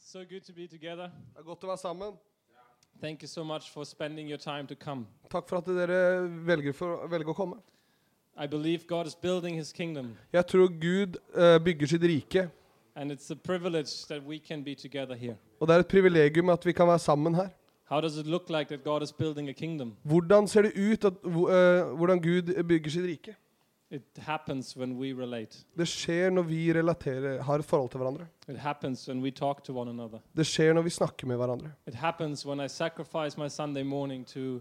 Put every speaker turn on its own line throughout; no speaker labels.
So good to be together.
Det er godt å være sammen.
Thank you so much for spending your time to come.
Takk for at dere velger, for, velger å komme.
I believe God is building his kingdom,
Jeg tror Gud eh, bygger sitt rike,
and it's a privilege that we can be together here.
og det er et privilegium at vi kan være sammen her.
How does it look like that God is building a kingdom?
Hvordan ser det ut at, hvor- eh, hvordan Gud bygger sitt rike?
It happens when we relate.
Det skjer når vi relaterer, har et forhold til hverandre.
It happens when we talk to one another.
Det skjer når vi snakker med hverandre.
It happens when I sacrifice my Sunday morning to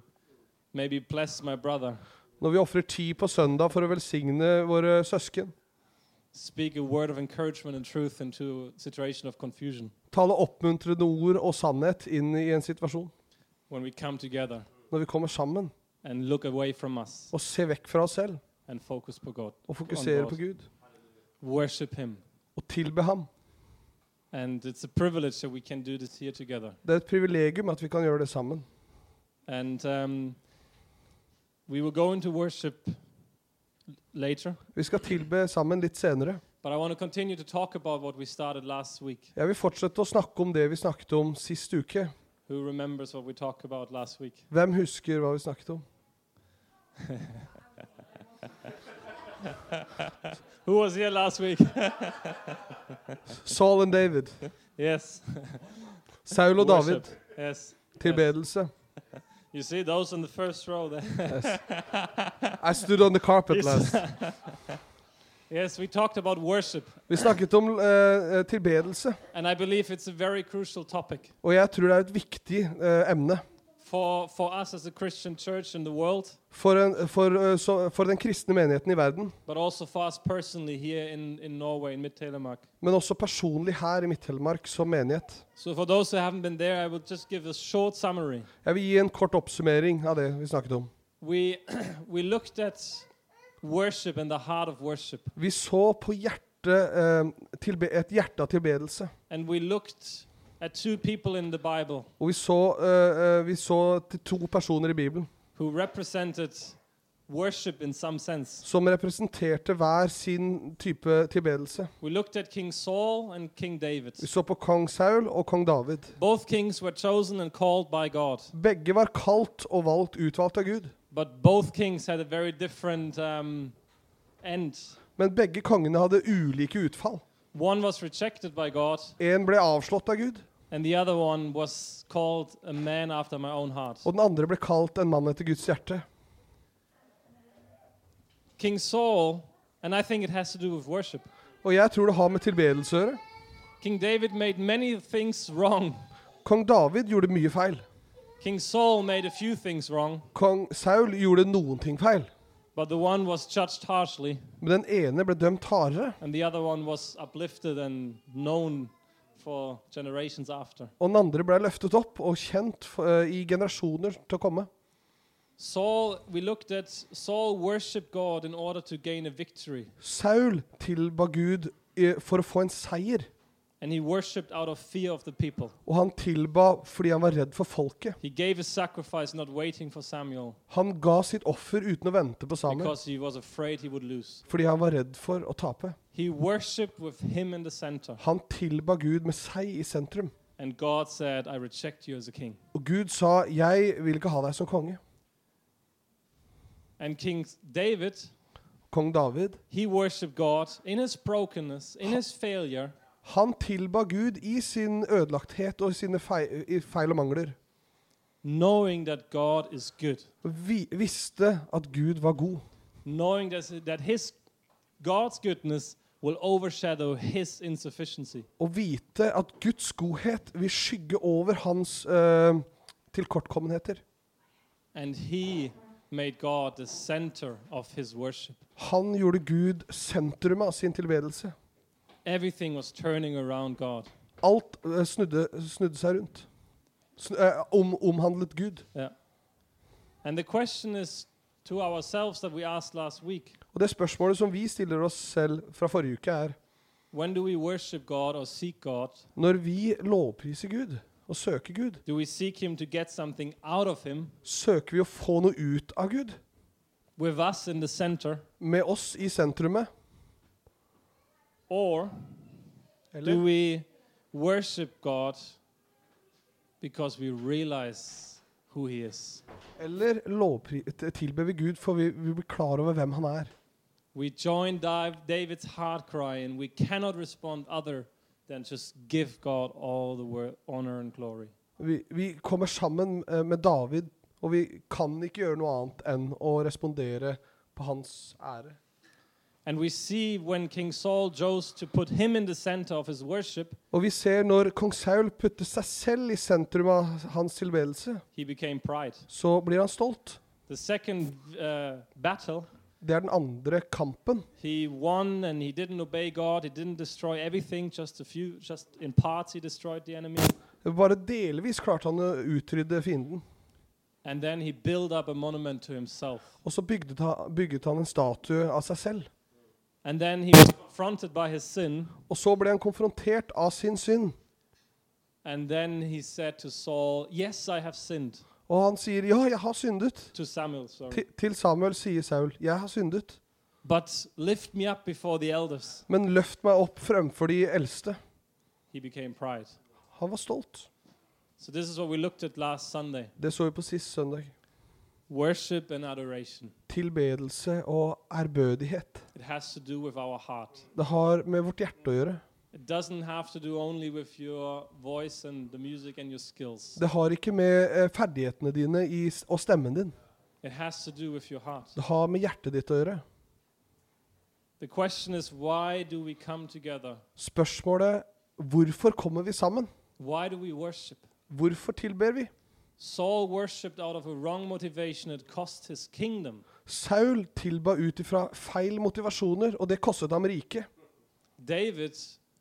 maybe bless my brother,
Når vi ofrer tid på søndag for å velsigne våre søsken.
speak a word of encouragement and truth into a situation of confusion.
Tale oppmuntrende ord og sannhet inn i en situasjon.
When we come together
Når vi kommer sammen
and look away from us
og ser vekk fra oss selv
and focus på God,
og fokuserer på Gud.
worship Him.
Og tilbe Ham.
And it's a privilege that we can do this here together.
Det er et privilegium at vi kan gjøre det sammen.
And um, we will go into worship later,
Vi skal tilbe sammen litt senere.
but I want to continue to talk about what we started last week.
Jeg vil fortsette å snakke om det vi snakket om sist uke.
Who remembers what we talked about last week?
Hvem husker hva vi snakket om?
Who was here last week?
Saul and David.
yes.
Saul og David.
Worship. Yes.
Tilbedelse.
You see those in the first row there?
Yes. I stood on the carpet last.
yes, we talked about worship,
Vi snakket om eh, eh, tilbedelse,
and I believe it's a very crucial topic
og jeg tror det er et viktig eh, emne.
for, for us as a Christian church in the world,
For, en, for, eh, så, for den kristne menigheten i verden,
but also for us personally here in, in Norway, in Mid Telemark.
men også personlig her i Midt-Telemark som menighet.
So, for those who haven't been there, I will just give a short summary.
Jeg vil gi en kort oppsummering av det vi snakket om.
We, we looked at worship and the heart of worship,
Vi så på hjertet, eh, tilbe et hjerte av tilbedelse.
and we looked at two people in the Bible
Og vi så, eh, eh, vi så til to personer i Bibelen
who represented worship in some sense.
som representerte hver sin type tilbedelse.
We looked at King Saul and King David.
Vi så på kong Saul og kong David.
Both kings were chosen and called by God,
Begge var kalt og valgt utvalgt av Gud.
but both kings had a very different um, end.
Men begge kongene hadde ulike utfall.
One was rejected by God,
Én ble avslått av Gud,
and the other one was called a man after my own heart.
og den andre ble kalt en mann etter Guds hjerte.
King Saul, and I think it has to do with worship.
Og jeg tror det har med tilbedelse å gjøre.
King David made many things wrong.
Kong David gjorde mye feil.
King Saul made a few things wrong,
Kong Saul gjorde noen ting feil.
but the one was judged harshly,
Men den ene ble dømt hardere,
and the other one was uplifted and known for generations after.
og den andre ble løftet opp og kjent eh, i generasjoner til å komme.
Saul, we looked at Saul worshiped God in order to gain a victory,
Saul tilba Gud eh, for å få en seier,
and he worshiped out of fear of the people.
og han tilba fordi han var redd for folket.
He gave his sacrifice not waiting for Samuel
Han ga sitt offer uten å vente på Samuel,
because he was afraid he would lose.
fordi han var redd for å tape.
He worshiped with him in the center,
Han tilba Gud med seg i sentrum.
and God said, I reject you as a king.
Og Gud sa, 'Jeg vil ikke ha deg som konge'.
And King David,
Kong David,
he worshiped God in his brokenness, in his failure,
han tilba Gud i sin ødelagthet og sine feil, i feil og mangler.
knowing that God is good,
Og vi, visste at Gud var god.
knowing that, that his God's goodness will overshadow his insufficiency.
Og vite at Guds godhet vil skygge over hans eh, tilkortkommenheter.
And he made God the center of his worship.
Han gjorde Gud sentrumet av sin tilbedelse.
Everything was turning around God.
Alt eh, snudde, snudde seg rundt. Sn eh, om, omhandlet Gud.
Yeah. And the question is to ourselves that we asked last week
Og det spørsmålet som vi stiller oss selv fra forrige uke, er
when do we worship God or seek God?
Når vi lovpriser Gud og søker Gud,
Do we seek him to get something out of him
søker vi å få noe ut av Gud.
with us in the center?
Med oss i sentrumet.
Or do
Eller
we worship God because we realize who He is.
Eller lovpri t- tilber vi Gud for vi, vi blir klar over hvem han er.
We join Div- David's heart cry, and we cannot respond other than just give God all the wor- honor and glory.
Vi, vi kommer sammen eh, med David, og vi kan ikke gjøre noe annet enn å respondere på hans ære.
And we see when King Saul chose to put him in the center of his worship,
Og vi ser når kong Saul putter seg selv i sentrum av hans tilbedelse,
he became pride.
så blir han stolt.
The second uh, battle,
Det er den andre kampen.
he won and he didn't obey God. He didn't destroy everything, just a few, just in parts he destroyed the enemy.
Bare delvis klarte han å utrydde fienden.
And then he built up a monument to himself.
Og så bygde ta- bygget han en statue av seg selv.
And then he was confronted by his sin.
Og så ble han konfrontert av sin synd.
And then he said to Saul, Yes, I have sinned.
Og han sier, 'Ja, jeg har syndet'.
To Samuel, sorry.
Ti- Til Samuel sier Saul, 'Jeg har syndet',
But lift me up before the elders.
men løft meg opp fremfor de eldste.
He became pride.
Han var stolt.
So this is what we looked at last Sunday
Det så vi på sist søndag.
worship and adoration.
Tilbedelse og ærbødighet.
It has to do with our heart.
Det har med vårt hjerte å gjøre.
It doesn't have to do only with your voice and the music and your skills.
Det har ikke med eh, ferdighetene dine i, s- og stemmen din.
It has to do with your heart.
Det har med hjertet ditt å gjøre.
The question is why do we come together?
Spørsmålet hvorfor kommer vi sammen?
Why do we worship?
Hvorfor tilber vi?
Saul worshipped out of a wrong motivation. It cost his kingdom.
Saul tilba ut ifra feil motivasjoner, og det kostet ham riket.
David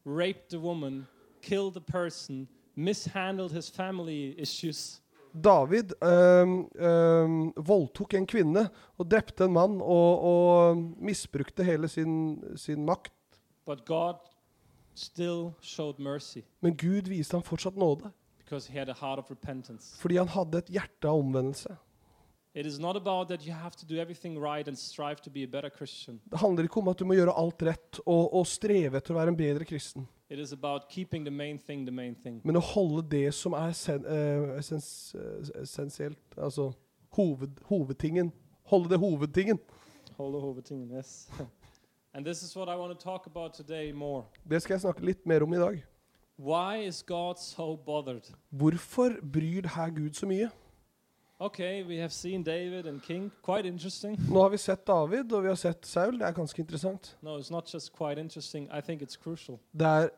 raped a woman, killed a person, mishandled his family issues.
David øhm, øhm, voldtok en kvinne og drepte en mann og, og misbrukte hele sin, sin makt.
But God still showed mercy
Men Gud viste ham fortsatt nåde,
because he had a heart of repentance.
fordi han hadde et hjerte av omvendelse.
It is not about that you have to do everything right and strive to be a better Christian.
Det handler ikke om at du må gjøre alt rett og, og streve etter å være en bedre kristen,
It is about keeping the main thing the main thing.
men å holde det som er sen, øh, essens, øh, essensielt, altså hoved, hovedtingen. Holde det hovedtingen.
Hold over thing, yes. and this is what I want to talk about today more.
Det skal jeg snakke litt mer om i dag.
Why is God so bothered?
Hvorfor bryr her Gud så mye?
Okay, we have seen David and King. Quite interesting.
Nå har vi sett David, og vi har sett Saul. Det er ganske interessant.
No, it's not just quite interesting. I think it's crucial.
Det er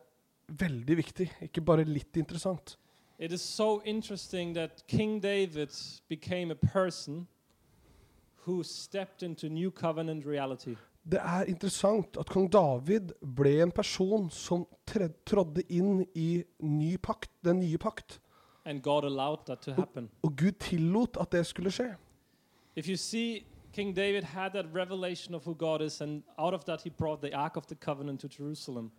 veldig viktig, ikke bare litt interessant.
It is so interesting that King David became a person who stepped into new covenant reality.
Det er interessant at kong David ble en person som tre- trådde inn i ny pakt, den nye pakt.
And God allowed that to happen.
Og Gud tillot at det skulle skje.
If you see, King David had that revelation of who God is, and out of that, he brought the Ark of the Covenant to Jerusalem.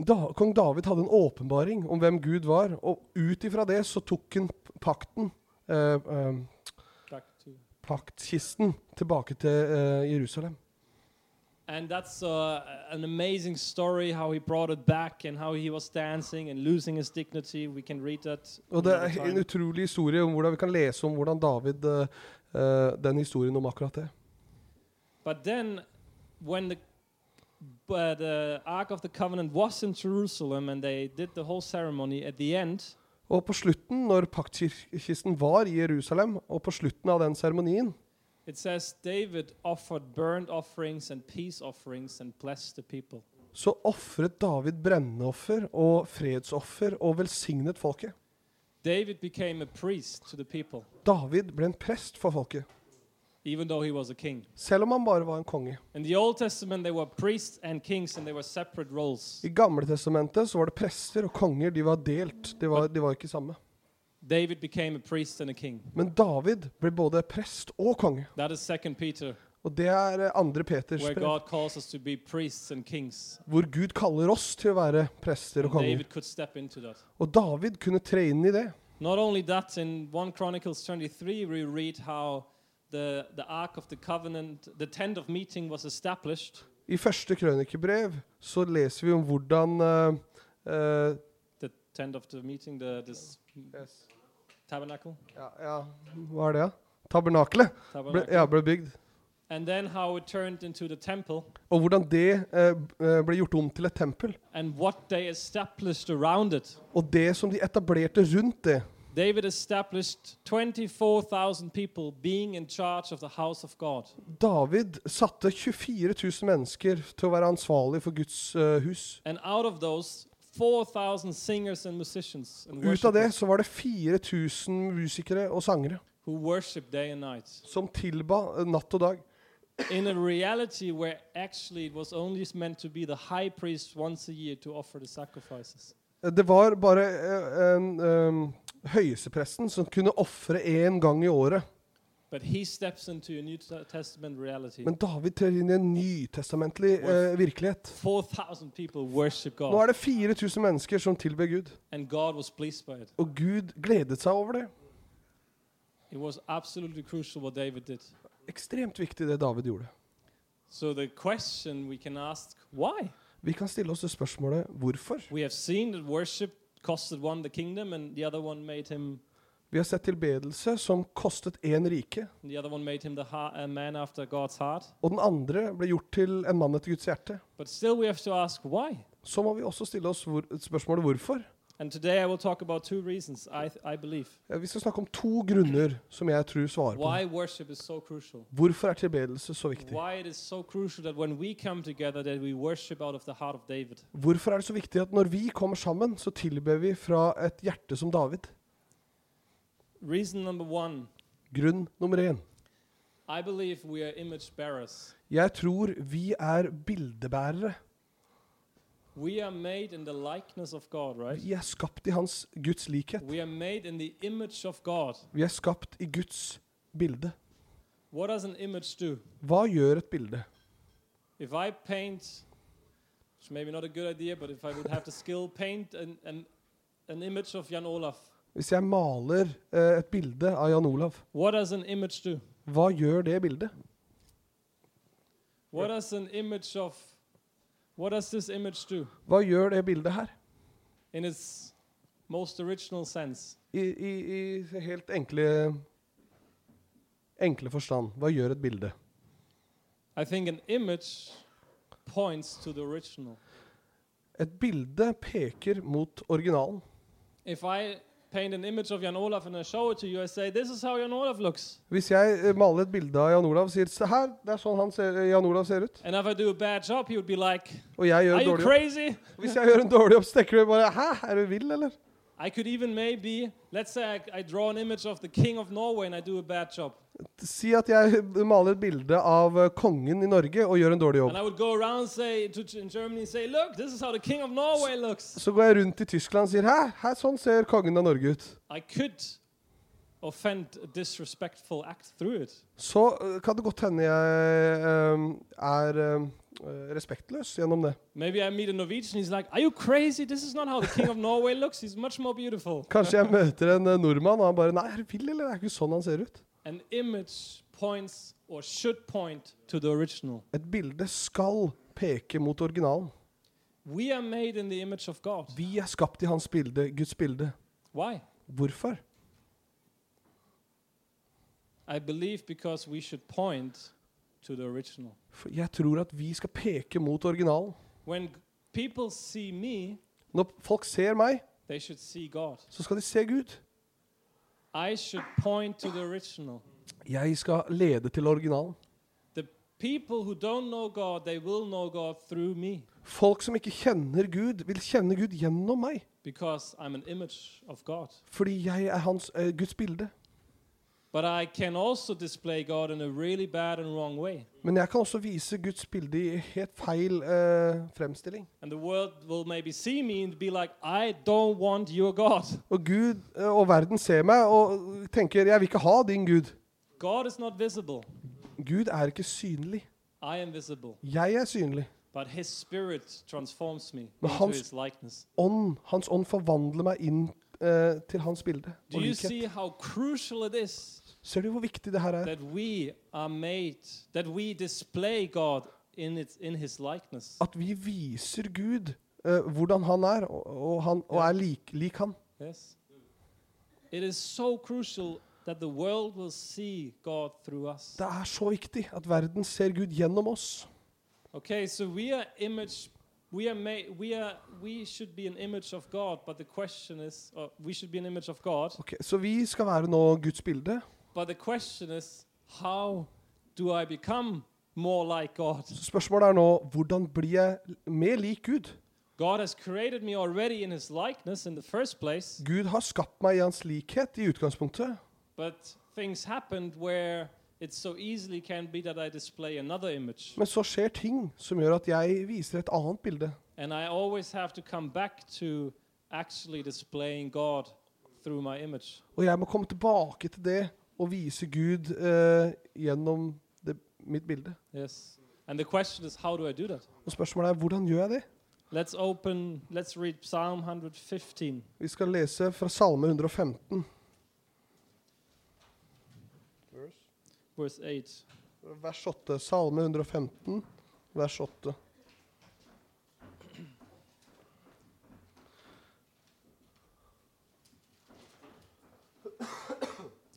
Da, kong David hadde en åpenbaring om hvem Gud var, og ut ifra det så tok han p- pakten, eh, eh,
Back to-
paktkisten, tilbake til eh, Jerusalem.
And that's uh, an amazing story how he brought it back and how he was dancing and losing his dignity. We can read that.
Og det
another
er
time.
en utrolig historie om hvordan vi kan lese om hvordan David eh, eh, Den historien om akkurat det.
But then, when the uh, the Ark of the Covenant was in Jerusalem and they did the whole ceremony, at the end,
Og på slutten, når paktkisten var i Jerusalem, og på slutten av den seremonien,
it says David offered burnt offerings and peace offerings and blessed the people.
så ofret David brenneoffer og fredsoffer og velsignet folket.
David became a priest to the people,
David ble en prest for folket,
even though he was a king.
selv om han bare var en konge.
In the Old Testament, they were priests and kings, and they were separate roles.
I Gamle testamentet så var det prester og konger. De var delt. De var, de var ikke samme.
David became a priest and a king.
Men David ble både prest og konge.
That is Second Peter,
Og det er eh, andre Peters
where
brev,
God calls us to be priests and kings.
hvor Gud kaller oss til å være prester
And
og konger.
David could step into that.
Og David kunne tre inn i det.
Not only that, in 1 Chronicles 23, we read how the, the Ark of the Covenant, the tent of meeting was established,
I første krønikebrev så leser vi om hvordan eh, eh,
the tent of the meeting, the this tabernacle.
Ja, ja. Hva er det, da? Tabernakelet ble,
tabernacle.
ja, ble bygd.
And then how it turned into the temple
Og hvordan det eh, b- eh, ble gjort om til et tempel.
and what they established around it.
Og det som de etablerte rundt det.
David established 24,000 people being in charge of the house of God.
David satte 24 000 mennesker til å være ansvarlig for Guds eh, hus.
And out of those, 4,000 singers and musicians and
Ut av det
worshipers
så var det 4000 musikere og sangere
who worship day and night
som tilba eh, natt og dag.
in a reality where actually it was only meant to be the high priest once a year to offer the sacrifices.
Eh, Det var bare eh, en, eh, høyestepresten som kunne ofre én gang i året.
But he steps into a New T- Testament reality.
Men David trer inn i en nytestamentlig eh, virkelighet.
4,000 people worship
Nå
God,
er det 4000 mennesker som tilber Gud,
and God was pleased by it.
og Gud gledet seg over det.
It was absolutely crucial what David did.
Ekstremt viktig det David gjorde.
So the question we can ask, why?
Vi kan stille oss det spørsmålet hvorfor.
We have seen that worship costed one the kingdom, and the other one made him,
Vi har sett tilbedelse som kostet én rike,
the other one made him the ha- a man after God's heart.
og den andre ble gjort til en mann etter Guds hjerte.
But still, we have to ask why.
Så må vi også stille oss hvor, spørsmålet hvorfor.
And today, I will talk about two reasons. I th- I believe
Ja, Vi skal snakke om to grunner som jeg tror svarer på.
why worship is so crucial.
Hvorfor er tilbedelse så viktig?
Why it is so crucial that when we come together, that we worship out of the heart of David.
Hvorfor er det så viktig at når vi kommer sammen, så tilber vi fra et hjerte som David?
Reason number one.
Grunn nummer én.
I believe we are image bearers.
Jeg tror vi er bildebærere.
We are made in the likeness of God, right?
Vi er skapt i hans Guds likhet.
We are made in the image of God.
Vi er skapt i Guds bilde.
What does an image do?
Hva gjør et bilde?
If I paint, which maybe not a good idea, but if I would have the skill, paint an, an, an image of Jan Olaf,
Hvis jeg maler eh, et bilde av Jan Olav,
what does an image do?
hva gjør det bildet?
What does an image of, what does this image do
Hva gjør det bildet her?
in its most original sense?
I, i, i helt enkle enkle forstand. Hva gjør et bilde?
I think an image points to the original.
Et bilde peker mot originalen.
If I paint an image of Jan Olaf and I show it to you, I say, this is how Jan Olaf looks.
Hvis jeg eh, maler et bilde av Jan Olav og sier se her, det er sånn han ser, Jan Olav ser ut,
And if I do a bad job, he would be like,
og jeg gjør
are
en
you
dårlig jobb
crazy?
Hvis jeg gjør en dårlig jobb, så tenker du bare hæ, er du vill, eller?
I could even maybe, let's say I, I draw an image of the king of Norway and I do a bad job.
Si at jeg maler et bilde av eh, kongen i Norge og gjør en dårlig
And
jobb.
I would go around say to, G- in Germany and say, look, this is how the king of Norway looks.
Så går jeg rundt i Tyskland og sier hæ, hæ, sånn ser kongen av Norge ut.
I could offend a disrespectful act through it.
Så eh, kan det godt hende jeg eh, er eh, respektløs gjennom det.
Maybe I meet a Norwegian, he's like, are you crazy? This is not how the king of Norway looks. He's much more beautiful.
Kanskje jeg møter en eh, nordmann, og han bare Nei, er du vill, eller? Det er ikke sånn han ser ut.
An image points or should point to the original.
Et bilde skal peke mot originalen.
We are made in the image of God.
Vi er skapt i hans bilde, Guds bilde.
Why?
Hvorfor?
I believe because we should point to the original.
For jeg tror at vi skal peke mot originalen.
When g- people see me,
Når folk ser meg,
they should see God.
så skal de se Gud.
I should point to the original.
Jeg skal lede til originalen.
The people who don't know God, they will know God through me
Folk som ikke kjenner Gud, vil kjenne Gud gjennom meg.
because I'm an image of God.
Fordi jeg er hans, eh, Guds bilde.
But I can also display God in a really bad and wrong way.
Men jeg kan også vise Guds bilde i helt feil eh, fremstilling.
And the world will maybe see me and be like, I don't want your God.
Og Gud eh, og verden ser meg og tenker 'jeg vil ikke ha din Gud'.
God is not visible.
Gud er ikke synlig.
I am visible.
Jeg er synlig.
But his spirit transforms me
Men
into
hans-
his likeness.
Ånd, hans ånd forvandler meg inn eh, til hans bilde.
Do you
Og likhet.
see how crucial it is
Ser du hvor viktig det her er?
that we are made, that we display God in, its, in his likeness?
At vi viser Gud eh, hvordan han er, og, og, han, og er lik, lik han.
Yes. It is so crucial that the world will see God through us.
Det er så viktig at verden ser Gud gjennom oss.
Okay, so we are image we are made we are we should be an image of God, but the question is or we should be an image of God,
Ok, Så vi skal være nå Guds bilde.
but the question is how do I become more like God?
Så spørsmålet er nå hvordan blir jeg mer lik Gud?
God has created me already in his likeness in the first place,
Gud har skapt meg i hans likhet i utgangspunktet.
but things happened where it so easily can be that I display another image.
Men så skjer ting som gjør at jeg viser et annet bilde.
And I always have to come back to actually displaying God through my image.
Og jeg må komme tilbake til det og vise Gud eh, gjennom det, mitt bilde.
Yes. And the question is, how do I do that?
Og spørsmålet er hvordan gjør jeg det?
Let's open, let's read Psalm 115.
Vi skal lese fra Salme 115.
verse 8.
Vers 8. Salme 115, vers 8.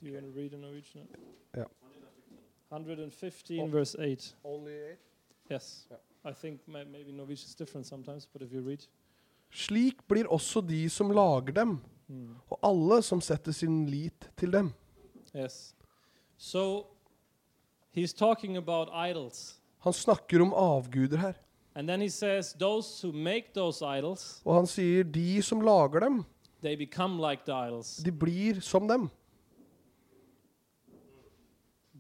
Do you want to read in Norwegian?
Yeah.
115, verse 8.
Only
Yes.
Yeah.
I think ma- maybe Norwegian is different sometimes, but if you read.
Slik blir også de som lager dem,
Hmm.
og alle som setter sin lit til dem.
Yes. So he's talking about idols.
Han snakker om avguder her,
And then he says, those who make those idols,
og han sier de som lager dem,
they become like the idols.
de blir som dem.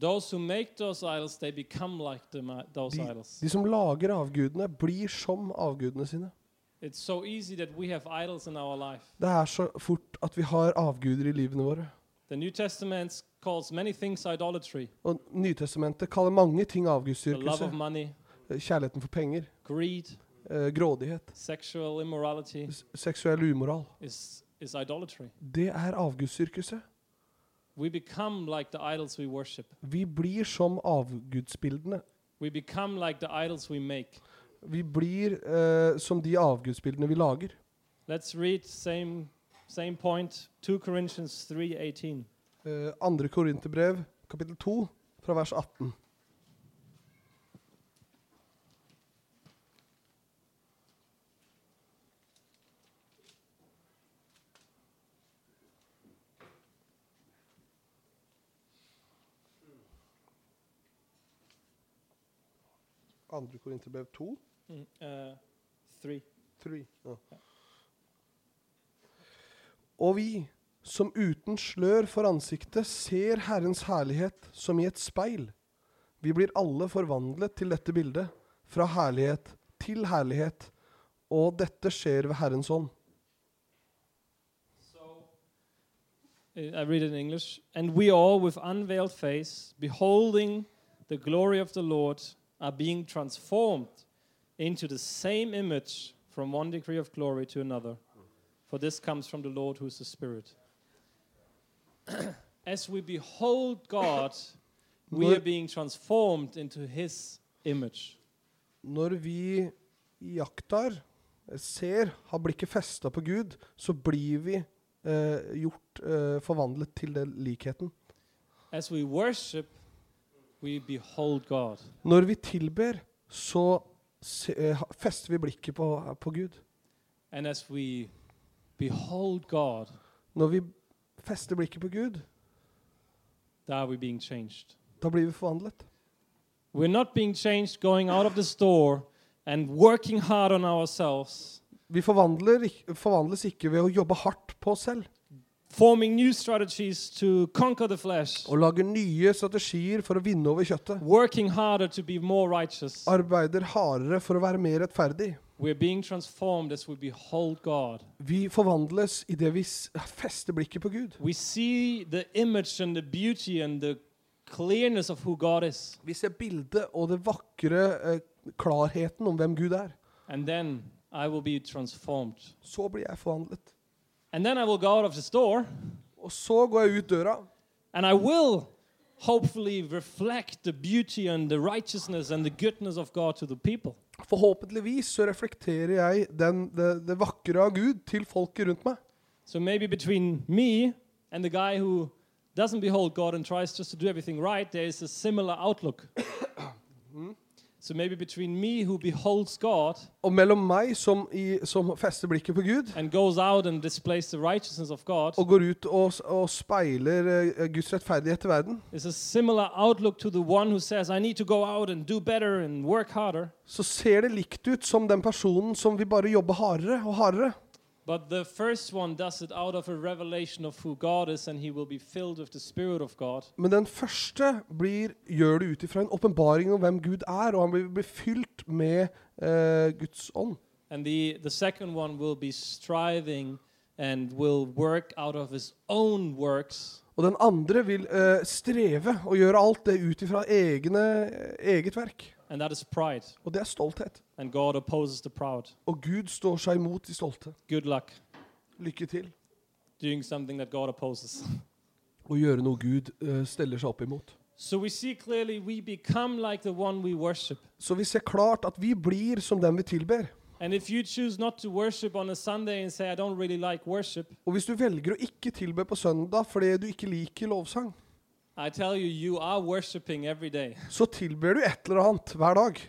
Those who make those idols, they become like them, uh, those
De,
idols.
de som lager avgudene, blir som avgudene sine.
It's so easy that we have idols in our life.
Det er så fort at vi har avguder i livene våre.
The New Testament calls many things idolatry
Og Nytestamentet kaller mange ting
the love
avgudsdyrkelse.
of money,
Kjærligheten for penger,
greed,
eh, grådighet,
sexual immorality
s- seksuell umoral.
is, is idolatry.
Det er avgudsdyrkelse.
We become like the idols we worship,
Vi blir som avgudsbildene.
we become like the idols we make.
Vi blir eh, som de avgudsbildene vi lager.
Let's read same same point 2 Corinthians 3:18.
Eh, andre Korinterbrev, kapittel 2, fra vers 18. Andre Korinterbrev 2,
Mm, uh, 3.
Three. Og vi, som uten slør for ansiktet ser Herrens herlighet som i et speil, vi blir alle forvandlet til dette bildet, fra herlighet til herlighet, og dette skjer ved Herrens ånd.
So Uh, I read it in English. And we all, with unveiled face, beholding the glory of the Lord, are being transformed into the same image from one degree of glory to another. For this comes from the Lord, who is the Spirit. As we behold God, we
Når-
are being transformed into His image.
Når vi iaktar, ser, har blikket festa på Gud, så blir vi eh, gjort eh, forvandlet til den likheten.
As we worship, we behold God.
Når vi tilber, så se, eh, ha- fester vi blikket på, på Gud.
And as we behold God,
Når vi fester blikket på Gud,
that are we being changed.
da blir vi forvandlet.
We're not being changed going out of the store and working hard on ourselves,
Vi forvandler, ikk- forvandles ikke ved å jobbe hardt på oss selv
forming new strategies to conquer the flesh,
og lage nye strategier for å vinne over kjøttet.
working harder to be more righteous.
Arbeider hardere for å være mer rettferdig.
We're being transformed as we behold God.
Vi forvandles idet vi s- fester blikket på Gud.
We see the image and the beauty and the clearness of who God is.
Vi ser bildet og det vakre eh, klarheten om hvem Gud er.
And then I will be transformed.
Så blir jeg forvandlet.
And then I will go out of the store
Og så går jeg ut døra,
and I will hopefully reflect the beauty and the righteousness and the goodness of God to the people.
Forhåpentligvis så reflekterer jeg den, det, det vakre av Gud til folket rundt meg.
So maybe between me and the guy who doesn't behold God and tries just to do everything right, there is a similar outlook. so maybe between me who beholds God
Og mellom meg, som, i, som fester blikket på Gud,
and goes out and displays the righteousness of God,
og går ut og, s- og speiler eh, Guds rettferdighet til verden,
is a similar outlook to the one who says, I need to go out and do better and work harder.
så ser det likt ut som den personen som vil bare jobbe hardere og hardere.
But the first one does it out of a revelation of who God is, and he will be filled with the Spirit of God.
Men den første blir, gjør det ut ifra en åpenbaring om hvem Gud er, og han blir, blir fylt med eh, Guds ånd.
And the, the second one will be striving and will work out of his own works
Og den andre vil eh, streve og gjøre alt det ut ifra egne, eh, eget verk.
and that is pride.
Og det er stolthet.
And God opposes the proud.
Og Gud står seg imot de stolte.
Good luck
Lykke til.
doing something that God opposes.
Å gjøre noe Gud eh, steller seg opp imot.
So we see clearly we become like the one we worship.
Så vi ser klart at vi blir som den vi tilber.
And if you choose not to worship on a Sunday and say, I don't really like worship,
Og hvis du velger å ikke tilbe på søndag fordi du ikke liker lovsang,
I tell you, you are worshiping every day.
så tilber du et eller annet hver dag.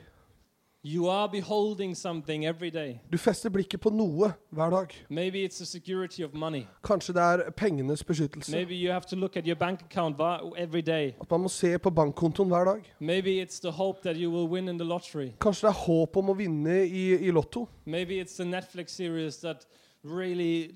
You are beholding something every day.
Du fester blikket på noe hver dag.
Maybe it's the security of money.
Kanskje det er pengenes beskyttelse.
Maybe you have to look at your bank account va- every day.
At man må se på bankkontoen hver dag.
Maybe it's the hope that you will win in the lottery.
Kanskje det er håp om å vinne i, i Lotto.
Maybe it's the Netflix series that really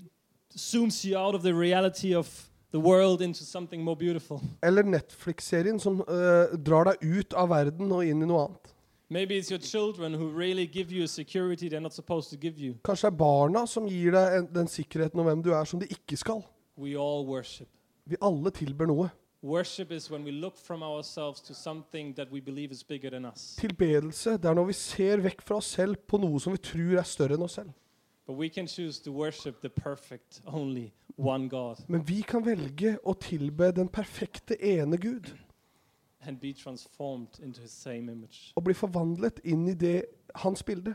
zooms you out of the reality of the world into something more beautiful.
Eller Netflix-serien som eh, drar deg ut av verden og inn i noe annet.
Maybe it's your children who really give you a security they're not supposed to give you.
Kanskje det er barna som gir deg en, den sikkerheten om hvem du er, som de ikke skal.
We all worship.
Vi alle tilber noe.
Worship is when we look from ourselves to something that we believe is bigger than us.
Tilbedelse det er når vi ser vekk fra oss selv på noe som vi tror er større enn oss selv.
But we can choose to worship the perfect, only one God
Men vi kan velge å tilbe den perfekte ene Gud
and be transformed into his same image.
og bli forvandlet inn i det hans bilde.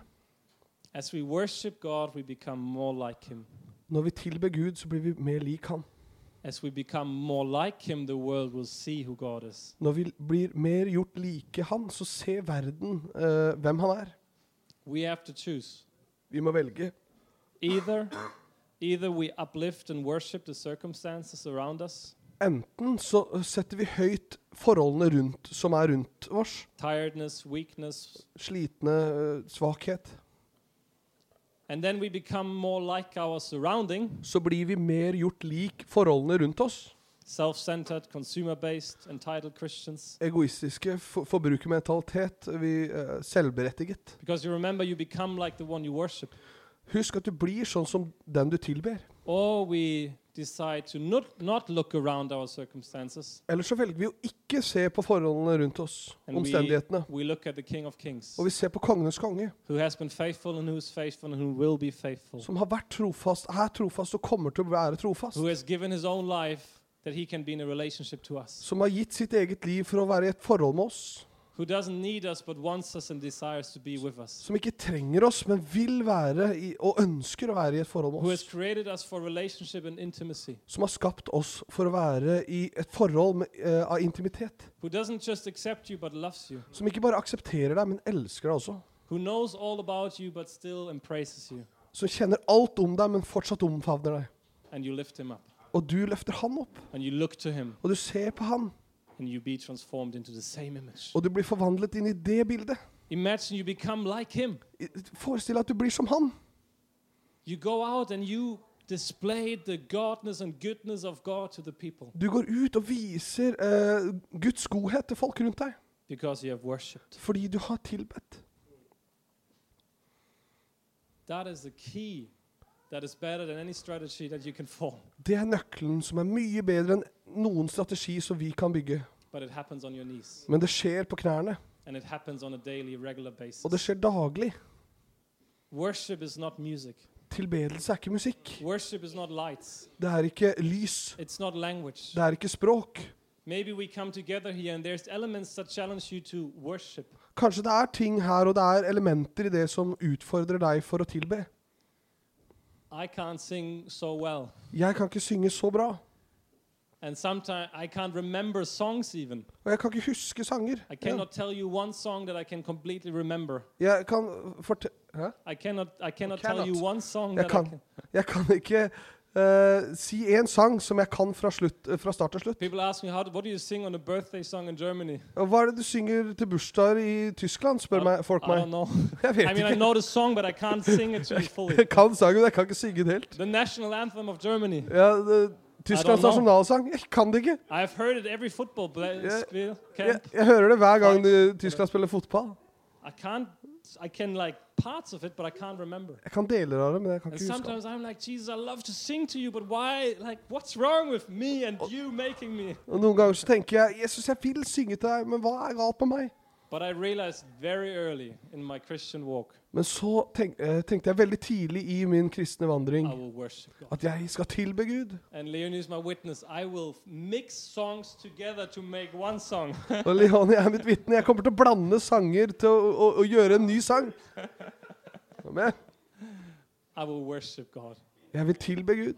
As we worship God, we become more like him.
Når vi tilber Gud, så blir vi mer lik han.
As we become more like him, the world will see who God is.
Når vi blir mer gjort like han, så ser verden eh, hvem han er.
We have to choose.
Vi må velge.
Either either we uplift and worship the circumstances around us,
Enten så setter vi høyt forholdene rundt, som er rundt oss.
tiredness, weakness,
Slitne, eh, svakhet.
and then we become more like our surrounding,
Så blir vi mer gjort lik forholdene rundt oss.
self-centered, consumer-based, entitled Christians.
Egoistiske, for forbrukermentalitet, vi, eh, selvberettiget.
Because you remember you become like the one you worship.
Husk at du blir sånn som den du tilber.
Or we decide to not, not look around our circumstances.
Eller så velger vi å ikke se på forholdene rundt oss,
And we-
omstendighetene.
We look at the King of Kings,
Og vi ser på kongenes konge,
who has been faithful and who is faithful and who will be faithful.
som har vært trofast, er trofast og kommer til å være trofast.
who has given his own life that he can be in a relationship to us,
Som har gitt sitt eget liv for å være i et forhold med oss.
who doesn't need us but wants us and desires to be with us,
Som ikke trenger oss, men vil være i, og ønsker å være i et forhold
who
med
has
oss.
created us for relationship and intimacy,
Som har skapt oss for å være i et forhold med, eh, av intimitet.
who doesn't just accept you but loves you,
Som ikke bare aksepterer deg, men elsker deg også.
who knows all about you but still embraces you,
Som kjenner alt om deg, men fortsatt omfavner deg.
and you lift him up,
Og du løfter han opp,
and you look to him,
og du ser på han,
and you be transformed into the same image.
og du blir forvandlet inn i det bildet.
Imagine you become like him.
I- Forestill deg at du blir som han.
You go out and you display the godness and goodness of God to the people
Du går ut og viser eh, Guds godhet til folk rundt deg,
because you have worshipped.
fordi du har tilbedt.
That is the key that is better than any strategy that you can form,
Det er nøkkelen som er mye bedre enn noen strategi som vi kan bygge.
but it happens on your knees
Men det skjer på knærne,
and it happens on a daily, regular basis.
og det skjer daglig.
Worship is not music,
Tilbedelse er ikke musikk.
worship is not lights,
Det er ikke lys.
it's not language.
Det er ikke språk.
Maybe we come together here and there's elements that challenge you to worship,
Kanskje det er ting her og det er elementer i det som utfordrer deg for å tilbe.
I can't sing so well.
Jeg kan ikke synge så bra,
And sometimes I can't remember songs even.
og jeg kan ikke huske sanger.
I
Jeg,
cannot tell you one song that I can completely remember.
jeg kan forte... Hæ?
I cannot I cannot, tell
cannot.
you one song
Jeg
that I
kan.
can.
Jeg kan ikke eh, si én sang som jeg kan fra, slutt, eh, fra start til slutt.
People ask me how do, what do you sing on a birthday song in Germany?
Og Hva er det du synger til bursdager i Tyskland, spør meg, folk
I don't
meg.
know.
Jeg
I
vet
mean I
ikke.
know the song but I can't sing it to you fully.
Jeg kan sangen, men jeg kan ikke synge den helt.
The national anthem of Germany.
Ja, det- Tysklands
I don't know.
nasjonalsang? Jeg kan det ikke.
I've heard it every football play,
Yeah.
spiel
Jeg,
camp.
jeg hører det hver gang du- Tyskland spiller fotball.
I can't I can like parts of it but I can't remember.
Jeg kan deler av det, men jeg kan
And
ikke huske. alt.
sometimes I'm like, Jesus, I love to sing to you, but why? Like, what's wrong with me and
Oh.
you making me?
Og Noen ganger så tenker jeg Jesus, jeg vil synge til deg, men hva er galt med meg?
But I realized very early in my Christian walk,
Men så tenk, eh, tenkte jeg veldig tidlig i min kristne
I
vandring
will worship God.
at jeg skal tilbe Gud.
And Leonie is my witness. I will mix songs together to make one song.
Og Leonie er mitt vitne. Jeg kommer til å blande sanger til å, å, å gjøre en ny sang. Amen.
I will worship God.
Jeg vil tilbe Gud.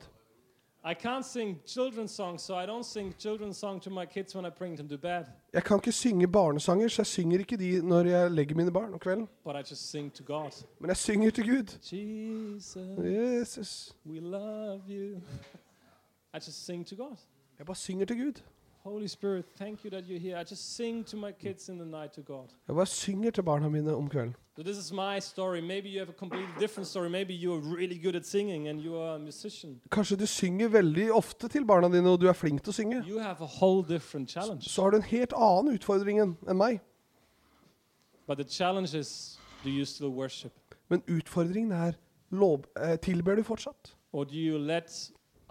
I can't sing children's songs, so I don't sing children's songs to my kids when I bring them to bed.
Jeg kan ikke synge barnesanger, så jeg synger ikke de når jeg legger mine barn om kvelden.
But I just sing to God.
Men jeg synger til Gud.
Jesus,
Jesus.
we love you. I just sing to God.
Jeg bare synger til Gud.
Holy Spirit, thank you that you're here. I just sing to my kids in the night to God.
Jeg bare synger til barna mine om kvelden.
So this is my story. Maybe you have a completely different story. Maybe you're really good at singing and you are a musician.
Kanskje du synger veldig ofte til barna dine, og du er flink til å synge.
You have a whole different challenge.
Så har du en helt annen utfordring enn enn meg.
But the challenge is do you still worship?
Men utfordringen er lov, eh, tilber du fortsatt?
Or do you let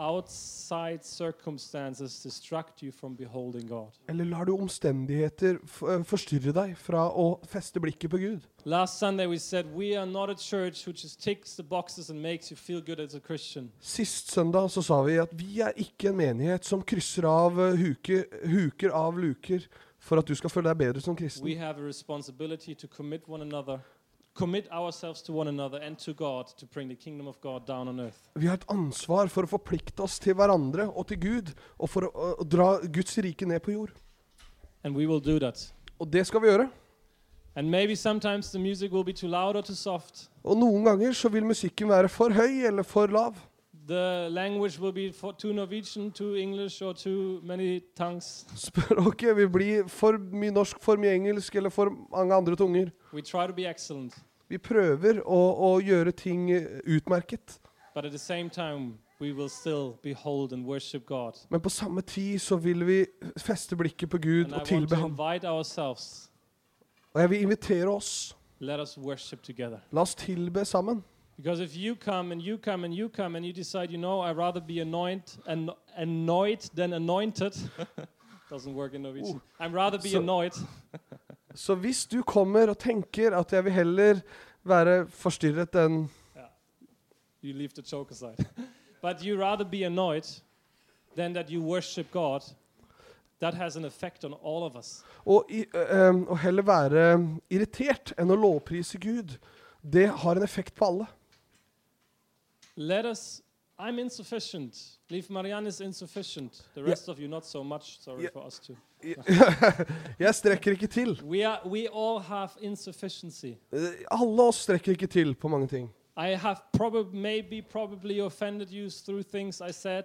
outside circumstances distract you from beholding God?
Eller lar du omstendigheter f eh, forstyrre deg fra å feste blikket på Gud?
Last Sunday we said we are not a church who just ticks the boxes and makes you feel good as a Christian.
Sist søndag så sa vi at vi er ikke en menighet som krysser av eh, huke, huker av luker for at du skal føle deg bedre som
We
kristen.
have a responsibility to commit one another, commit ourselves to one another and to God to bring the kingdom of God down on earth.
Vi har et ansvar for å forplikte oss til hverandre og til Gud, og for å, å, å dra Guds rike ned på jord.
And we will do that.
Og det skal vi gjøre.
And maybe sometimes the music will be too loud or too soft.
Og noen ganger så vil musikken være for høy eller for lav.
The language will be for too Norwegian, too English, or too many tongues.
Språket vil bli for mye norsk, for mye engelsk eller for mange andre tunger.
We try to be excellent,
Vi prøver å, å gjøre ting eh, utmerket,
but at the same time, we will still behold and worship God.
men på samme tid så vil vi feste blikket på Gud
And I
og
want
tilbe
to
Ham.
invite ourselves.
Og jeg vil invitere oss.
Let us worship together.
La oss tilbe sammen.
Because if you come and you come and you come and you decide, you know, I'd rather be anoint and annoyed than anointed. Doesn't work in Norwegian. I'd rather be
so-
annoyed.
Så hvis du kommer og tenker at jeg vil heller være forstyrret enn
you leave the joke aside. but you rather be annoyed than that you worship God. That has an effect on all of us.
Og, i, eh, eh, og heller være irritert enn å lovprise Gud. Det har en effekt på alle.
Let us. I'm insufficient. Leave Marianne is insufficient. The rest of you not so much. Sorry
Yeah.
for us too.
Jeg strekker ikke til.
We are. We all have insufficiency.
Eh, Alle oss strekker ikke til på mange ting.
I have probably, maybe, probably offended you through things I said.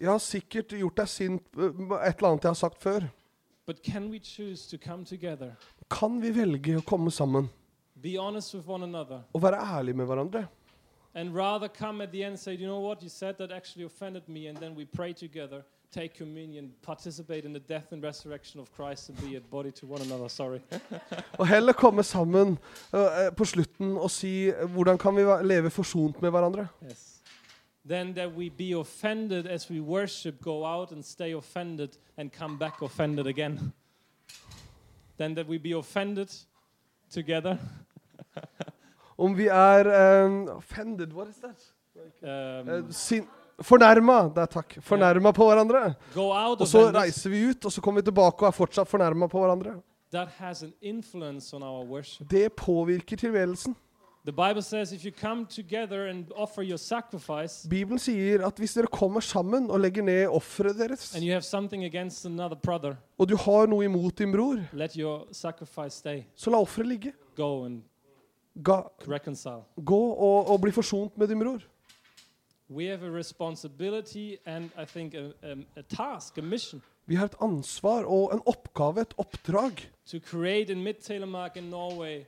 Jeg har sikkert gjort deg sint på et eller annet jeg har sagt før.
But can we choose to come together,
Kan vi velge å komme sammen
be honest with one another,
og være ærlige med hverandre?
and rather come at the end and say, you know what, you said that actually offended me, and then we pray together, take communion, participate in the death and resurrection of Christ, and be a body to one another. Sorry.
Og heller komme sammen eh, eh, på slutten og si eh, hvordan kan vi va- leve forsont med hverandre?
yes. Then that we be offended as we worship, go out and stay offended, and come back offended again. then that we be offended together.
Om vi er eh, offended What is that? Eh,
Um,
sin fornærma. Der, takk. Fornærma på hverandre.
go out
Og så
offended,
reiser vi ut, og så kommer vi tilbake og er fortsatt fornærma på hverandre.
that has an influence on our worship.
Det påvirker tilværelsen.
The Bible says if you come together and offer your sacrifice
Bibelen sier at hvis dere kommer sammen og legger ned offeret deres,
and you have something against another brother,
og du har noe imot din bror,
let your sacrifice stay.
så la offeret ligge.
Go and
Ga,
reconcile.
gå og, og bli forsont med din bror.
We have a responsibility and I think a, a, a task, a mission
Vi har et ansvar og en oppgave, et oppdrag,
to create in Mid Telemark in Norway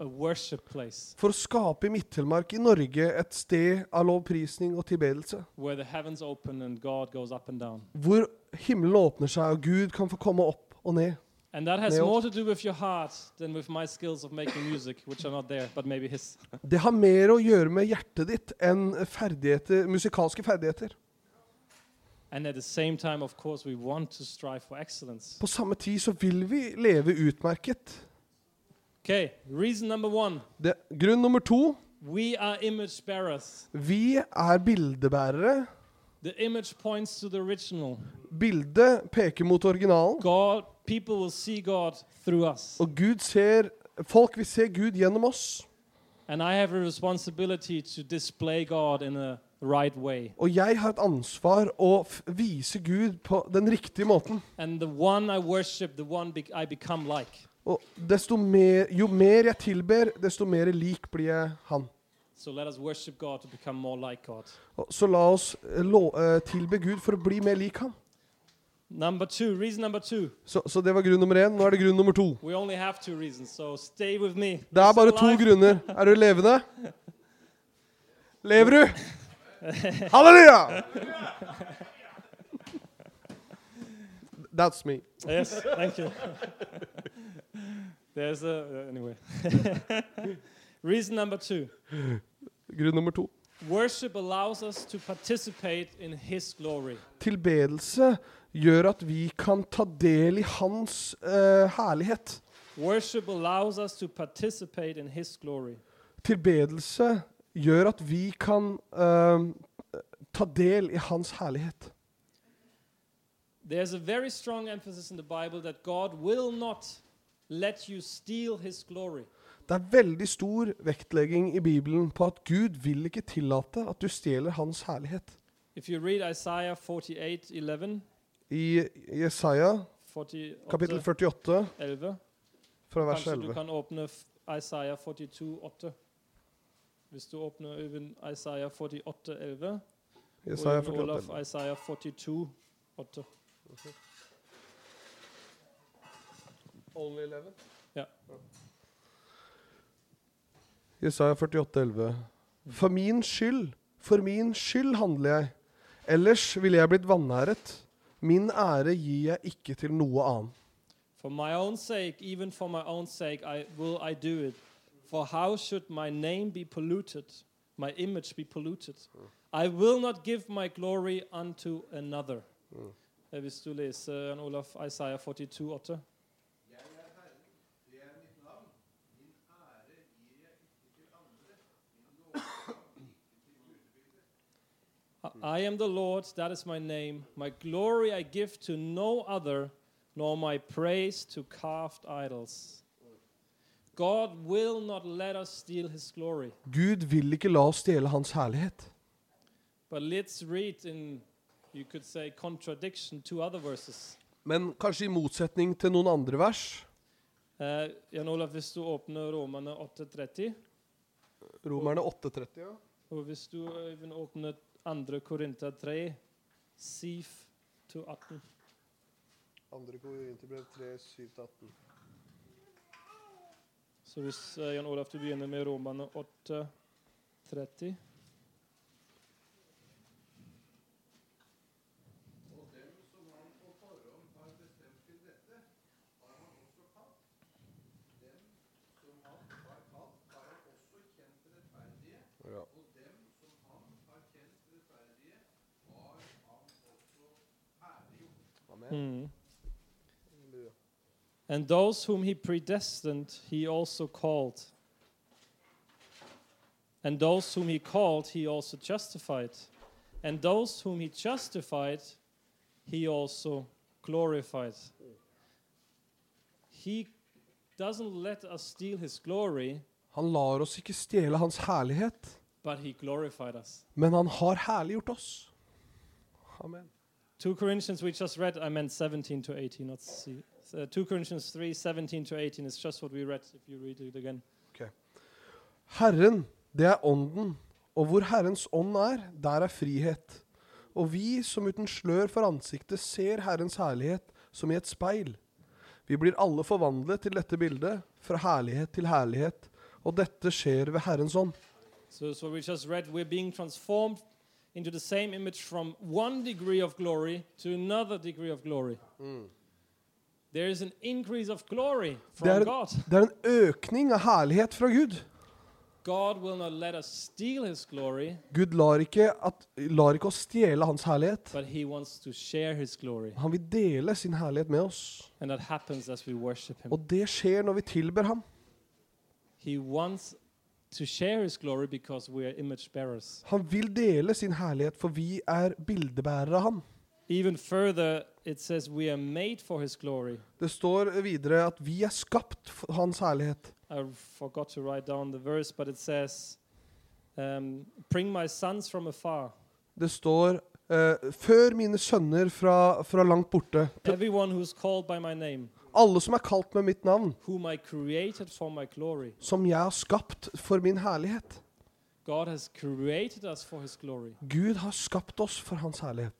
a worship place
for å skape i Midt-Telemark i Norge et sted av lovprisning og tilbedelse,
where the heavens open and God goes up and down.
hvor himmelen åpner seg og Gud kan få komme opp og ned.
And that has
Leo?
more to do with your heart than with my skills of making music, which are not there, but maybe his.
Det har mer å gjøre med hjertet ditt enn ferdigheter, musikalske ferdigheter.
And at the same time, of course, we want to strive for excellence.
På samme tid så vil vi leve utmerket.
Okay, reason number one
Det, grunn nummer to
we are image bearers.
Vi er bildebærere.
The image points to the original.
Bildet peker mot originalen.
God, people will see God through us.
Og Gud ser Folk vil se Gud gjennom oss.
And I have a responsibility to display God in a right way.
Og jeg har et ansvar å f vise Gud på den riktige måten.
And the one I worship, the one be- I become like.
Og desto mer, jo mer jeg tilber, desto mer lik blir jeg han.
So let us worship God to become more like God.
Og så la oss eh, lo, eh, tilbe Gud for å bli mer lik han.
Number two, reason number two.
Så, så det var grunn nummer én. Nå er det grunn nummer to.
We only have two reasons, so stay with me.
Det er bare to
Alive.
grunner. Er du levende? Lever du? Halleluja! That's me.
Yes, thank you. There's a uh, anyway. Reason number two:
Grunn nummer to.
worship allows us to participate in His glory.
Tilbedelse gjør at vi kan ta del i Hans eh, herlighet.
Worship allows us to participate in His glory.
Tilbedelse gjør at vi kan eh, ta del i Hans herlighet.
There's a very strong emphasis in the Bible that God will not let you steal His glory.
Det er veldig stor vektlegging i Bibelen på at Gud vil ikke tillate at du stjeler Hans herlighet.
If you read Isaiah 48, 11,
I Jesaja
48,
kapittel 48
11
fra vers
Kanskje du
11.
kan åpne f- Isaiah 42, 8. Hvis du åpner Øyvind Isaiah 48, 11.
Jesaja
og Jon
48.
Olaf Isaiah 42, 8. Ja.
Jesaja 48, 11. For min skyld, for min skyld handler jeg. Ellers ville jeg blitt vanæret. Min ære gir jeg ikke til noe annen.
For my own sake, even for my own sake, I will I do it. For how should my name be polluted, my image be polluted? I will not give my glory unto another. Eh, Hvis du leser Jan Olaf Isaiah 42, 8. I I am the Lord, that is my name. My glory I give to no other, nor my praise to carved idols. God will not let us steal his glory.
Gud vil ikke la oss stjele hans herlighet.
But let's read in, you could say, contradiction to other verses.
Men kanskje i motsetning til noen andre vers.
Eh, Jan Olav, hvis du åpner Romerne 8.30,
Romerne 8,30. Ja.
og hvis du Øyvind, åpner 2. Korinter 3, Sif to 18.
Andre Korinterbrev 3, 7-18.
Så hvis eh, Jan Olav, du begynner med Romerne 8.30.
Ja.
Mm. And those whom he predestined, he also called. And those whom he called, he also justified. And those whom he justified, he also glorified. He doesn't let us steal his glory,
Han lar oss ikke stjele hans herlighet,
but he glorified us.
men han har herliggjort oss. Amen.
2 Corinthians, we just read, I meant 17 to 18, not C. Uh, 2 Corinthians 3, 17 to 18 is just what we read, if you read it again.
Herren, det er ånden, og hvor Herrens ånd er, der er frihet. Og vi som uten slør for ansiktet ser Herrens herlighet som i et speil. Vi blir alle forvandlet til dette bildet, fra herlighet til herlighet, og dette skjer ved Herrens ånd.
So that's what we just read. We're being transformed into the same image from one degree of glory to another degree of glory. There is an increase of glory from
There-
God.
Det er en økning av herlighet fra Gud.
God will not let us steal his glory,
Gud lar ikke, at, lar ikke oss stjele hans herlighet.
but he wants to share his glory.
Han vil dele sin herlighet med oss.
And that happens as we worship him.
Og det skjer når vi tilber ham.
He wants to share his glory because we are image bearers.
Han vil dele sin herlighet, for vi er bildebærere av ham.
Even further, it says we are made for his glory.
Det står videre at vi er skapt for hans herlighet.
I forgot to write down the verse, but it says, um, Bring my sons from afar.
Det står eh, før mine sønner fra, fra langt borte.
Everyone who's called by my name,
Alle som er kalt med mitt navn,
whom I created for my glory.
som jeg har skapt for min herlighet.
God has created us for his glory.
Gud har skapt oss for hans herlighet.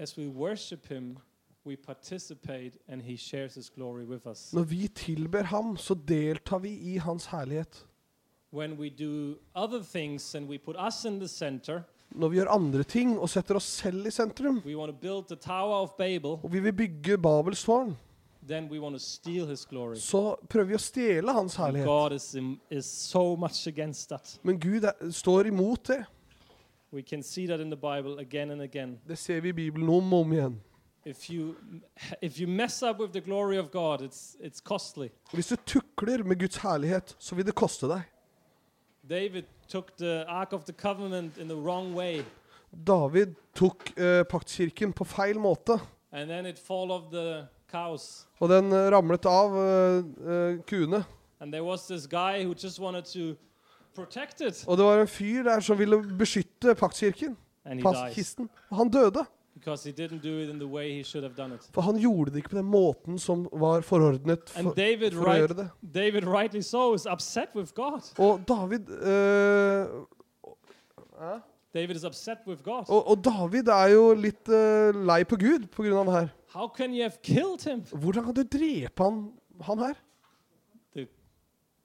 As we worship him, we participate and he shares his glory with us.
Når vi tilber ham, så deltar vi i hans herlighet.
When we do other things and we put us in the center,
Når vi gjør andre ting og setter oss selv i sentrum,
we want to build the Tower of Babel,
og vi vil bygge Babels tårn,
then we want to steal his glory.
så prøver vi å stjele hans
And
herlighet.
God is, im- is so much against that.
Men Gud er, står imot det.
We can see that in the Bible again and again.
Det ser vi i Bibelen om og om igjen.
If you, if you mess up with the glory of God, it's, it's costly.
Hvis du tukler med Guds herlighet, så vil det koste deg.
David took the Ark of the Covenant in the wrong way,
David tok eh, paktskirken på feil måte,
and then it fall off the cows.
og den eh, ramlet av eh, eh, kuene.
And there was this guy who just wanted to protect it,
Og det var en fyr der som ville beskytte paktskirken,
and he
past-
dies
kisten, og han døde.
because he didn't do it in the way he should have done it.
For han gjorde det ikke på den måten som var forordnet
And
for,
David,
for å
right,
gjøre det.
David, rightly so, is upset with God.
Og David, eh,
David is upset with God.
og, og David er jo litt eh, lei på Gud på grunn av det her.
How can you have killed him?
Hvordan kan du drepe han, han her?
The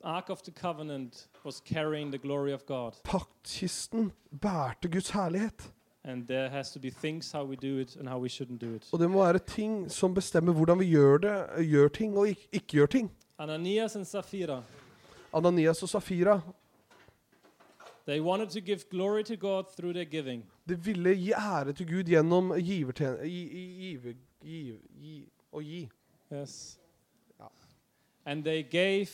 Ark of the Covenant was carrying the glory of God,
Paktkisten bærte Guds herlighet.
and there has to be things how we do it and how we shouldn't do it.
Og det må være ting som bestemmer hvordan vi gjør det, gjør ting og ikke, ikke gjør ting.
Ananias and Sapphira.
Ananias og Safira
They wanted to give glory to God through their giving,
de ville gi ære til Gud gjennom givertjen... Gi, gi- give, give, gi, å gi.
yes.
Yeah.
And they gave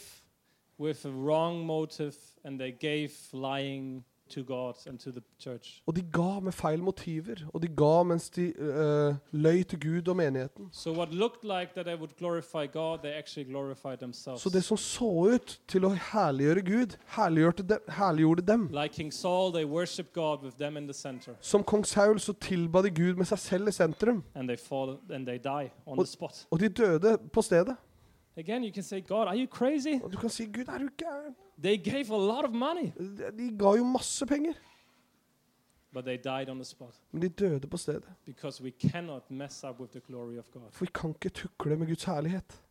with a wrong motive and they gave lying to God and to the church.
Og de ga med feil motiver, og de ga mens de øh, løy til Gud og menigheten.
So what looked like that they would glorify God, they actually glorified themselves.
Så det som så ut til å herliggjøre Gud, herliggjorde dem. Herliggjorde dem.
like King Saul, they worship God with them in the center
Som kong Saul så tilba de Gud med seg selv i sentrum,
and they fall and they die on
Well-
the spot.
og de døde på stedet.
Again, you can say, God, are you crazy?
Og du kan si 'Gud, er du gæren?'
They gave a lot of money,
De de ga jo masse penger,
but they died on the spot
men de døde på stedet.
because we cannot mess up with the glory of God.
For vi kan ikke tukle med Guds herlighet.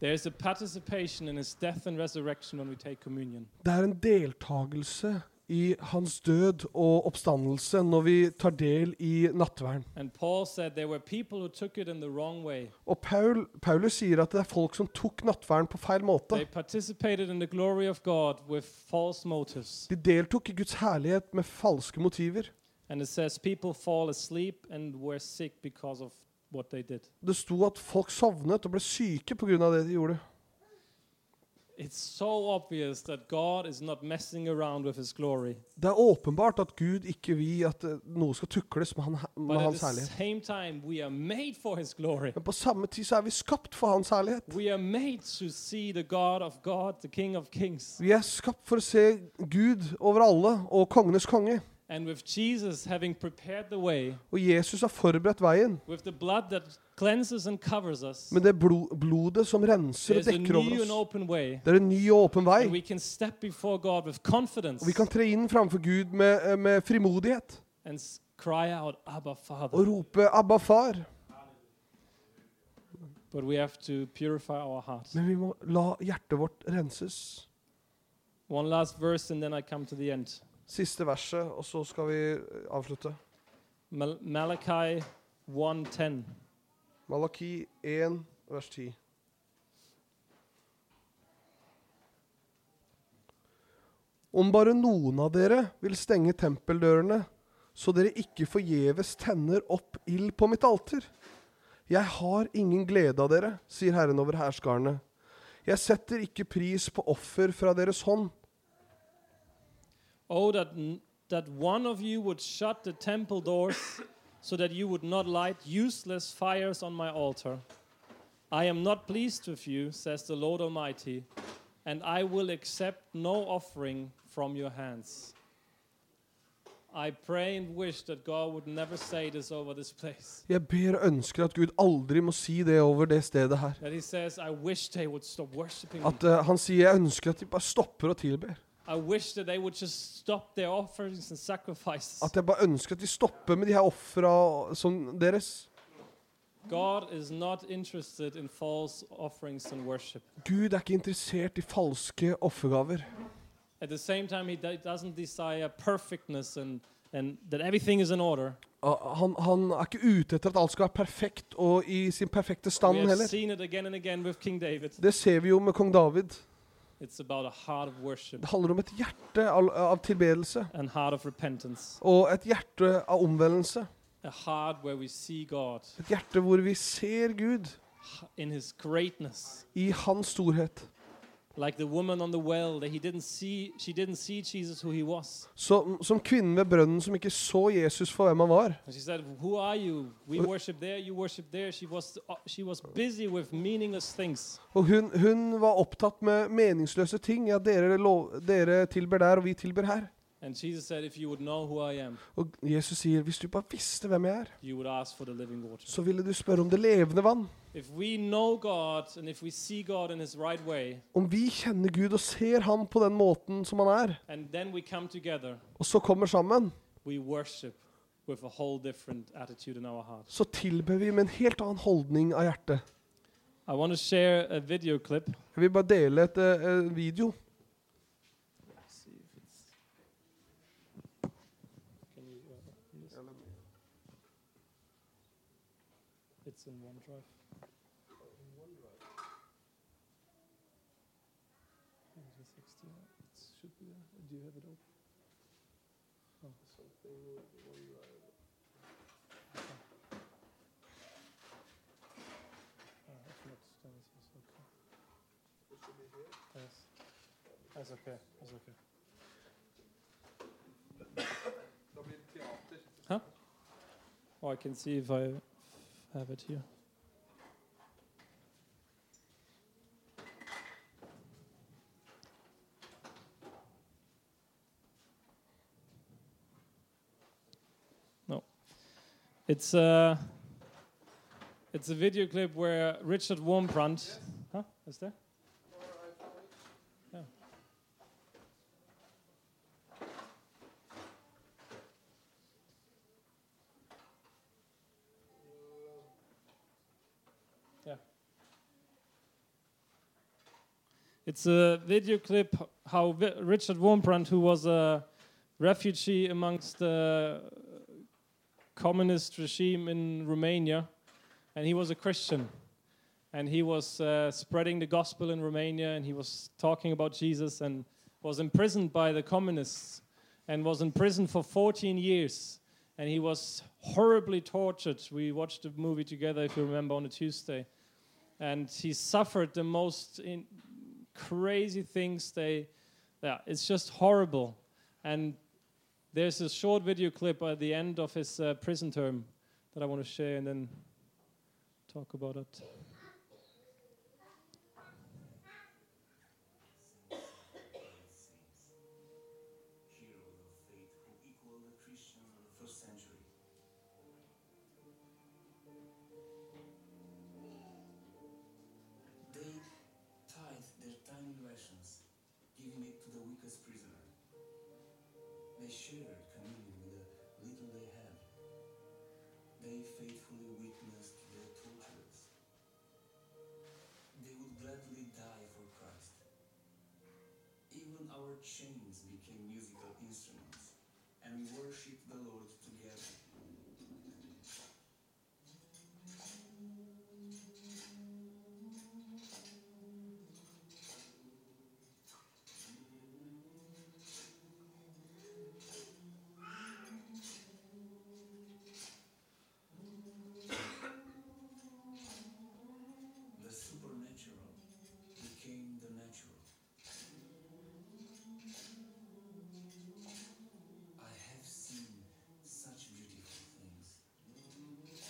There is a participation in his death and resurrection when we take communion.
Det er en deltakelse i hans død og oppstandelse når vi tar del i nattverden.
And Paul said there were people who took it in the wrong way.
Og Paul, Paulus sier at det er folk som tok nattverden på feil måte.
They participated in the glory of God with false motives.
De deltok i Guds herlighet med falske motiver.
And it says people fall asleep and were sick because of what they did.
Det sto at folk sovnet og ble syke pga. det de gjorde.
It's so obvious that God is not messing around with his glory.
Det er åpenbart at Gud ikke vil at eh, noe skal tukles med, han,
But
med
at
hans
the
herlighet.
same time, we are made for his glory.
Men på samme tid så er vi skapt for hans herlighet.
We are made to see the God of God, the King of Kings.
Vi er skapt for å se Gud over alle og kongenes konge.
And with Jesus having prepared the way,
Og Jesus har forberedt veien.
with the blood that cleanses and covers us,
Med det blo- blodet som renser og
there's a
dekker over
new and
oss.
open way.
Det er en ny og åpen
And
vei.
we can step before God with confidence
Og vi kan tre inn framfor Gud med, eh, med frimodighet
and s- cry out, Abba,
og
Father.
rope 'Abba, far'.
But we have to purify our hearts.
Men vi må la hjertet vårt renses.
One last verse, and then I come to the end.
Siste verset, og så skal vi eh, avslutte.
Mal- Malachi 1:10.
Malaki 1, vers 10. Om bare noen av dere vil stenge tempeldørene, så dere ikke forgjeves tenner opp ild på mitt alter. Jeg har ingen glede av dere, sier Herren over hærskarene. Jeg setter ikke pris på offer fra deres hånd.
Oh, that, n- that one of you would shut the temple doors so that you would not light useless fires on my altar. I am not pleased with you, says the Lord Almighty, and I will accept no offering from your hands. I pray and wish that God would never say this over this place.
Jeg ber og ønsker at Gud aldri må si det over det stedet her.
That He says, I wish they would stop worshiping me.
At eh, han sier 'jeg ønsker at de bare stopper å tilber'.
I wish that they would just stop their offerings and sacrifices.
At jeg bare ønsker at de stopper med de her ofra som deres.
God is not interested in false offerings and worship.
Gud er ikke interessert i falske offergaver.
At the same time, he do- doesn't desire perfectness and, and that everything is in order.
Ah, Han, han er ikke ute etter at alt skal være perfekt og i sin perfekte stand
we have
heller.
seen it again and again with King David.
Det ser vi jo med kong David.
It's about a heart of worship
Det handler om et hjerte av, av tilbedelse.
and heart of repentance,
Og et hjerte av omvendelse.
a heart where we see God
Et hjerte hvor vi ser Gud
h- in His greatness,
i hans storhet.
like the woman on the well that he didn't see. She didn't see Jesus who he was.
Som, som kvinnen ved brønnen som ikke så Jesus for hvem han var.
And she said, "Who are you? We
Wh-
worship there. You worship there." She was uh, she was busy with meaningless things.
Og hun, hun var opptatt med meningsløse ting. Ja, dere, lov, dere tilber der, og vi tilber her.
And Jesus said, If you would know who I am,
Og Jesus sier, hvis du bare visste hvem jeg er,
you would ask for the living water.
så ville du spørre om det levende vann.
If we know God and if we see God in His right way,
Om vi kjenner Gud og ser ham på den måten som han er,
and then we come together,
og så kommer sammen,
we worship with a whole different attitude in our heart.
så tilber vi med en helt annen holdning av hjertet.
I want to share a video clip.
Jeg vil bare dele et eh, eh, video.
See if it's. Can you. Uh, open this? It's in OneDrive. Yeah, it's 16. It should be there. Do you have it open? Oh. Okay. Ah, it's not done, it's also okay. Yes. That's okay. That's okay. Huh? Oh, I can see if I have it here. No. It's a it's a video clip where Richard Wormbrand, huh? Is there? Yeah. It's a video clip h- how Vi- Richard Wormbrand, who was a refugee amongst the communist regime in Romania, and he was a Christian, and he was uh, spreading the gospel in Romania, and he was talking about Jesus, and was imprisoned by the communists, and was in prison for 14 years, and he was horribly tortured. We watched the movie together, if you remember, on a Tuesday and he suffered the most in crazy things. They, yeah, it's just horrible. And there's a short video clip at the end of his uh, prison term that I want to share and then talk about it.
hero of faith who equaled the Christians of the first century. They tied their tiny rations, giving it to the weakest prisoner. They shared communion with the little they had. They faithfully witnessed their tortures. They would gladly die for Christ. Even our chains became musical instruments, and we worshiped the Lord together. The supernatural became the natural. I have seen such beautiful things.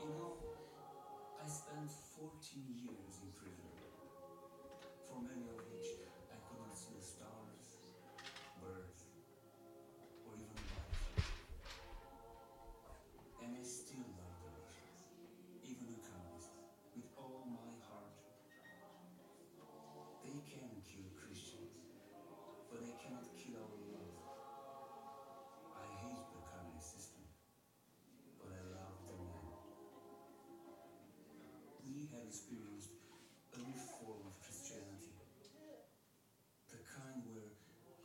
You know, I spent 14 years in prison, for many of which I could not see the stars, birds, or even life. And I still love the Russians, even the communists, with all my heart. They can kill Christians, but they cannot kill our love. I hate the communist system, but I love the man we had experienced a new form of Christianity, the kind where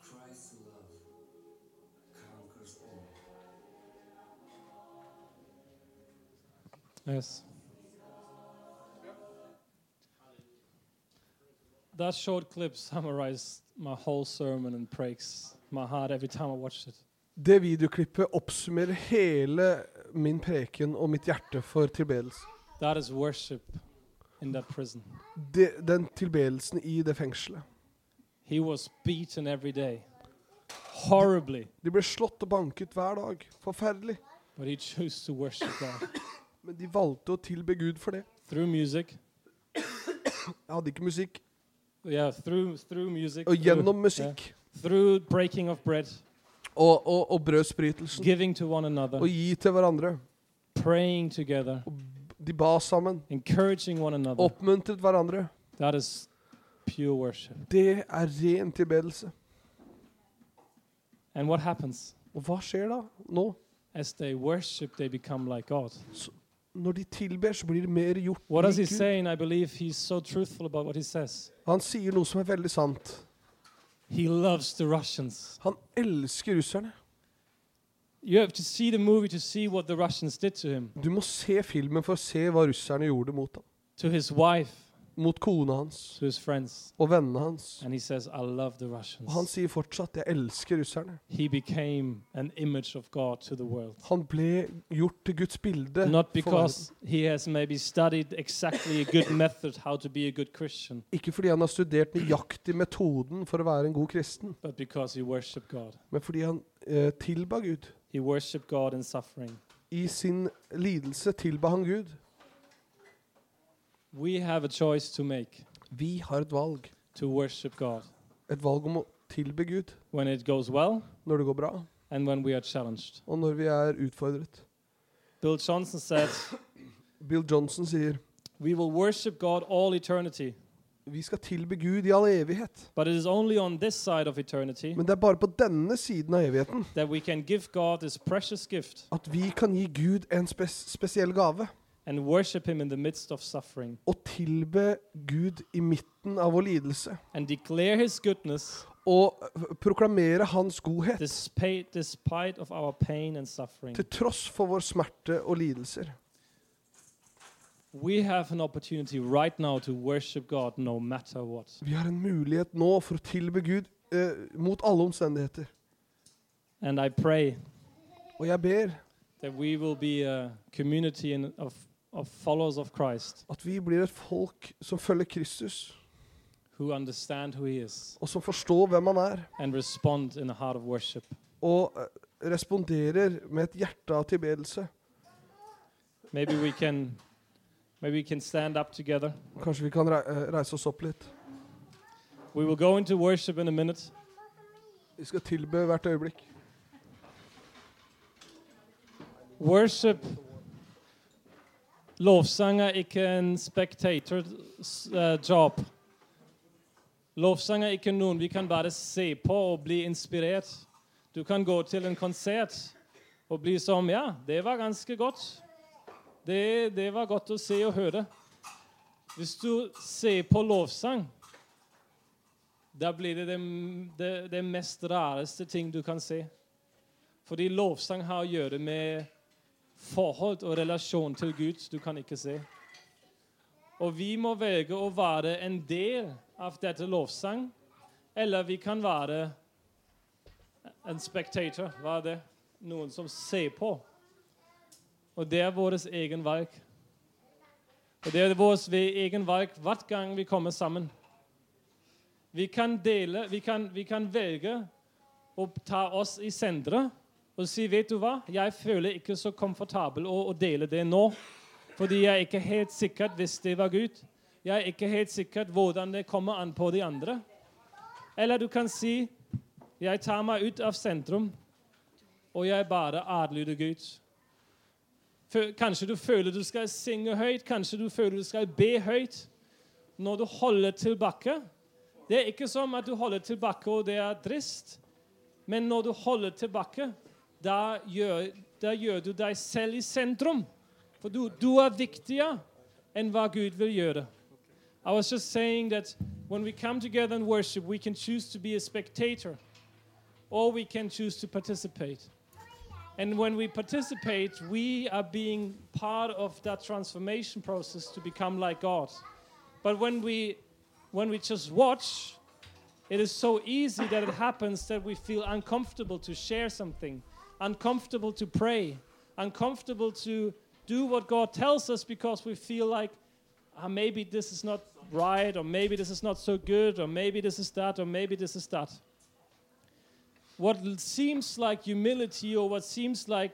Christ's love conquers all.
Yes. That short clip summarized my whole sermon and breaks my heart every time I watched it.
Det videoklippet oppsummerer hele min preken og mitt hjerte for tilbedelse.
That is worship in that prison.
Det, den tilbedelsen i det fengselet.
He was beaten every day, horribly,
De ble slått og banket hver dag. Forferdelig.
but he chose to worship God
Men de valgte å tilbe Gud for det.
through music.
Jeg hadde ikke musikk.
Yeah, through through music.
Og gjennom
through,
musikk.
yeah, through breaking of bread,
Og, og, og brødsbrytelsen.
giving to one another,
Og gi til hverandre.
praying together,
De ba sammen.
encouraging one
Oh.
another.
Oppmuntret hverandre.
That is pure worship.
Det er ren tilbedelse.
And what happens?
Og hva skjer da? Nå?
As they worship, they become like God.
Når de tilber, så blir det mer gjort.
What does he
lik Gud.
say? And I believe he's so truthful about what he says.
Han sier noe som er veldig sant.
He loves the Russians.
Han elsker russerne.
You have to see the movie to see what the Russians did to him,
Du må se filmen for å se hva russerne gjorde mot ham.
to his wife,
Mot kona hans
to his friends.
og vennene hans.
And he says, I love the
Og han
Russians.
sier fortsatt 'jeg elsker russerne'.
He became an image of God to the world.
Han ble gjort til Guds bilde.
Not
for verden.
because he has maybe studied exactly a good method how to be a good Christian,
Ikke fordi han har studert nøyaktig metoden for å være en god kristen,
but because he worshiped God.
men fordi han eh, tilba Gud.
He worshiped God in suffering.
I sin lidelse tilba han Gud.
We have a choice to make
Vi har et valg.
to worship God
Et valg om å tilbe Gud
when it goes well
når det går bra,
and when we are challenged.
og når vi er utfordret.
Bill Johnson said,
Bill Johnson sier
We will worship God all eternity,
vi skal tilbe Gud i all evighet.
but it is only on this side of eternity
Men det er bare på denne siden av evigheten
that we can give God this precious gift
at vi kan gi Gud en spes spesiell gave.
and worship Him in the midst of suffering
Å tilbe Gud i midten av vår lidelse.
and declare His goodness
og eh, proklamere hans godhet
despite, despite of our pain and suffering.
til tross for vår smerte og lidelser.
We have an opportunity right now to worship God no matter what.
Vi har en mulighet nå for å tilbe Gud eh, mot alle omstendigheter.
And I pray
Og jeg ber
that we will be a community in, of, of followers of Christ
at vi blir et folk som følger Kristus,
who understand who He is
og som forstår hvem han er,
and respond in a heart of worship.
og eh, responderer med et hjerte av tilbedelse.
Maybe we can, maybe we can stand up together.
Kanskje vi kan rei- eh, reise oss opp litt.
We will go into worship in a minute.
Vi skal tilbe hvert øyeblikk.
Worship. Lovsang er ikke en spectator eh, job. Lovsang er ikke noen vi kan bare se på og bli inspirert. Du kan gå til en konsert og bli som Ja, det var ganske godt. Det, det var godt å se og høre. Hvis du ser på lovsang, da blir det det, det det mest rareste ting du kan se. Fordi lovsang har å gjøre med forhold og relasjon til Gud du kan ikke se. Og vi må velge å være en del av dette lovsang, eller vi kan være en spectator. Hva er det? Noen som ser på. Og det er vårt egen valg. Og det er vårt egen valg hver gang vi kommer sammen. Vi kan dele, vi kan, vi kan velge å ta oss i senteret og si vet du hva, jeg føler ikke så komfortabel å, å dele det nå. Fordi jeg er ikke helt sikkert hvis det var Gud. Jeg er ikke helt sikkert hvordan det kommer an på de andre. Eller du kan si jeg tar meg ut av sentrum, og jeg bare adlyder Gud. Fø- Kanskje du føler du skal synge høyt, kanskje du føler du skal be høyt. Når du holder tilbake Det er ikke som at du holder tilbake, og det er trist. Men når du holder tilbake, da gjør, da gjør du deg selv i sentrum. For du, du er viktigere enn hva Gud vil gjøre. I was just saying that when we come together and worship, we can choose to be a spectator or we can choose to participate. And when we participate, we are being part of that transformation process to become like God. But when we, when we just watch, it is so easy that it happens that we feel uncomfortable to share something, uncomfortable to pray, uncomfortable to do what God tells us because we feel like ah, maybe this is not right, or maybe this is not so good, or maybe this is that, or maybe this is that. What l- seems like humility or what seems like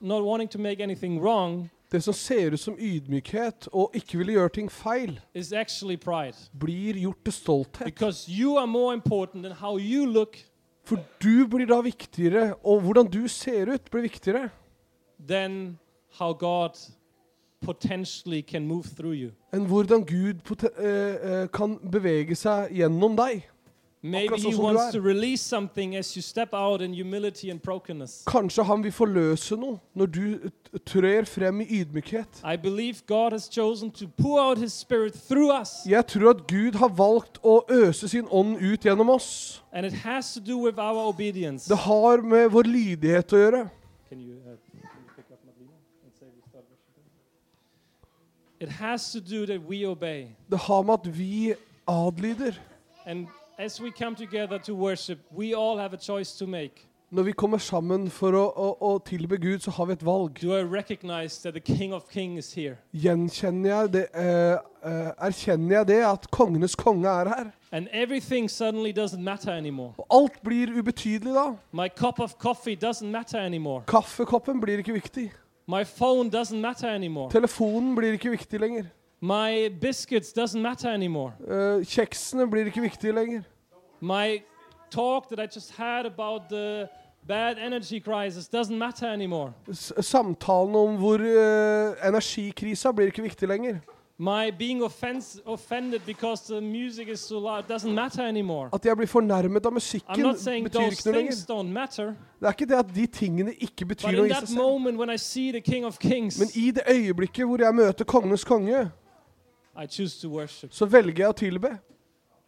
not wanting to make anything wrong
Det som ser ut som ydmykhet og ikke ville gjøre ting feil,
is actually pride.
blir gjort til stolthet.
Because you are more important than how you look
For du blir da viktigere, og hvordan du ser ut, blir viktigere
than how God potentially can move through you.
enn hvordan Gud pote- eh, eh, kan bevege seg gjennom deg.
Maybe
så
He
som du
wants
er.
to release something as you step out in humility and brokenness.
Kanskje han vil forløse noe når du eh, trer frem i ydmykhet.
I believe God has chosen to pour out His Spirit through us,
Jeg tror at Gud har valgt å øse sin ånd ut gjennom oss.
and it has to do with our obedience.
Det har med vår lydighet å gjøre.
Can you, uh, can you pick up Madlina and say we start worshiping? It has to do that we obey.
Det har med at vi adlyder.
And as we come together to worship, we all have a choice to make.
Når vi kommer sammen for å, å, å tilbe Gud, så har vi et valg.
Do I recognize that the King of Kings is here?
Gjenkjenner jeg det eh, eh, Erkjenner jeg det at kongenes konge er her?
And everything suddenly doesn't matter anymore.
Og alt blir ubetydelig da.
My cup of coffee doesn't matter anymore.
Kaffekoppen blir ikke viktig.
My phone doesn't matter anymore.
Telefonen blir ikke viktig lenger.
My biscuits doesn't matter anymore.
Eh, kjeksene blir ikke viktige lenger.
My talk that I just had about the bad energy crisis doesn't matter anymore.
S samtalene om hvor eh, energikrisa blir ikke viktig lenger.
My being offense, offended because the music is so loud doesn't matter anymore.
At jeg blir fornærmet av
I'm
musikken,
not saying
betyr
those
ikke noe lenger.
things don't matter,
Det er ikke det at de tingene ikke
but
betyr
in
noe i seg
that
selv.
moment when I see the King of Kings,
Men i det øyeblikket hvor jeg møter kongenes konge,
I choose to worship.
så velger jeg å tilbe.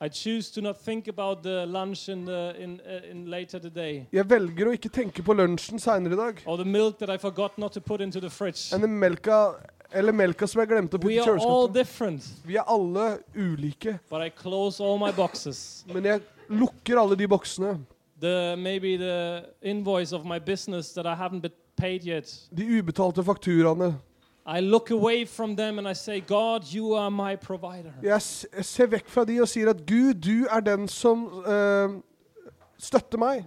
I choose to not think about the lunch in, the, in, uh, in later today,
Jeg velger å ikke tenke på lunsjen seinere i dag.
or the milk that I forgot not to put into the fridge.
Enn den melka, eller melka som jeg glemte å putte
We
i
are all
kjøleskapet.
different,
Vi er alle ulike,
but I close all my boxes.
men jeg lukker alle de boksene.
The maybe the invoice of my business that I haven't been paid yet.
De ubetalte fakturaene.
I look away from them and I say, God, you are my provider.
Jeg s- jeg ser vekk fra de og sier at Gud, du er den som eh, støtter meg.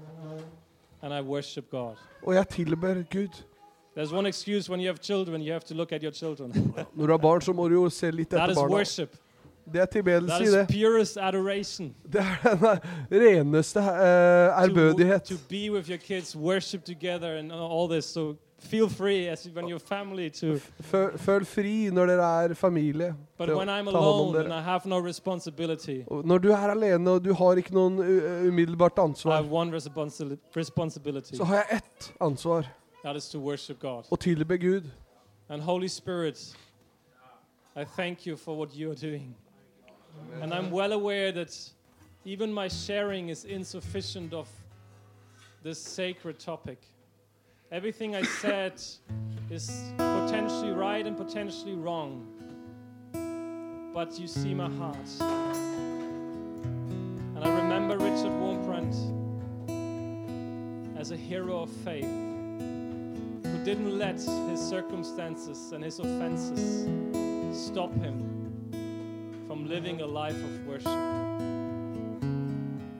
And I worship God.
Og jeg tilber Gud.
There's one excuse when you have children, you have to look at your children.
Når du har barn, så må du jo se litt
that
etter
is
barna.
worship.
Det er
That
tilbedelse i
is
det.
purest adoration.
Det er den reneste eh,
To wo-
ærbødighet.
To be with your kids, worship together, and all this. So feel free as when you're family to.
Føl, føl fri når dere er familie.
But
til å
when I'm
ta hånd om
alone and
dere.
I have no responsibility,
Og Når du er alene og du har ikke noen u- umiddelbart
I
ansvar,
have one responsi- responsibility.
så har jeg ett ansvar
That is to worship God.
å tilbe Gud.
And Holy Spirit, I thank you for what you are doing. And I'm well aware that even my sharing is insufficient of this sacred topic. Everything I said is potentially right and potentially wrong. But you see my heart. And I remember Richard Wormbrand as a hero of faith who didn't let his circumstances and his offenses stop him from living a life of worship.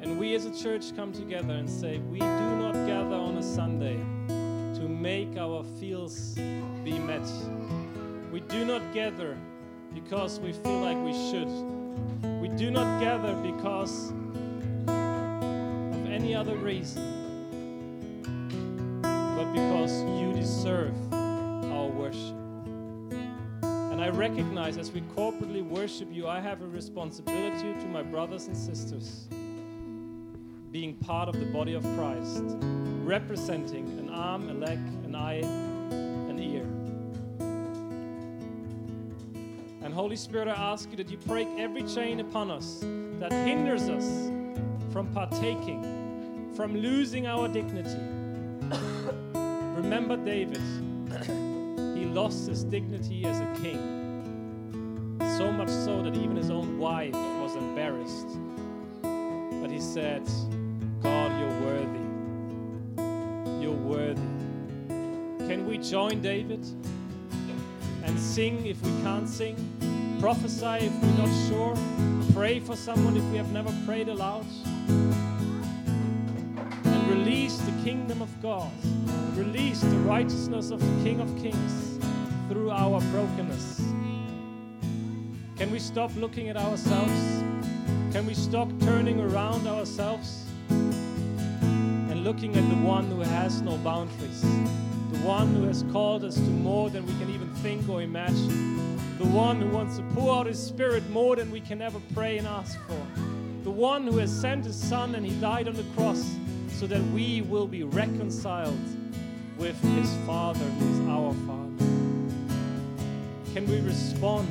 And we as a church come together and say, we do not gather on a Sunday to make our fields be met. We do not gather because we feel like we should. We do not gather because of any other reason but because you deserve our worship. And I recognize as we corporately worship you, I have a responsibility to my brothers and sisters, being part of the body of Christ, representing an arm, a leg, an eye, an ear. And Holy Spirit, I ask you that you break every chain upon us that hinders us from partaking, from losing our dignity. Remember David. he lost his dignity as a king. So much so that even his own wife was embarrassed. But he said, God, you're worthy. You're worthy. Can we join David and sing if we can't sing? Prophesy if we're not sure? Pray for someone if we have never prayed aloud? and release the kingdom of God. Release the righteousness of the King of Kings through our brokenness. Can we stop looking at ourselves? Can we stop turning around ourselves and looking at the one who has no boundaries? The one who has called us to more than we can even think or imagine. The one who wants to pour out his spirit more than we can ever pray and ask for. The one who has sent his son and he died on the cross so that we will be reconciled with his Father who is our Father. Can we respond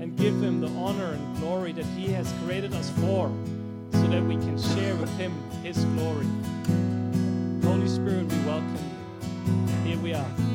and give him the honor and glory that he has created us for so that we can share with him his glory? Holy Spirit, we welcome you. Here we are.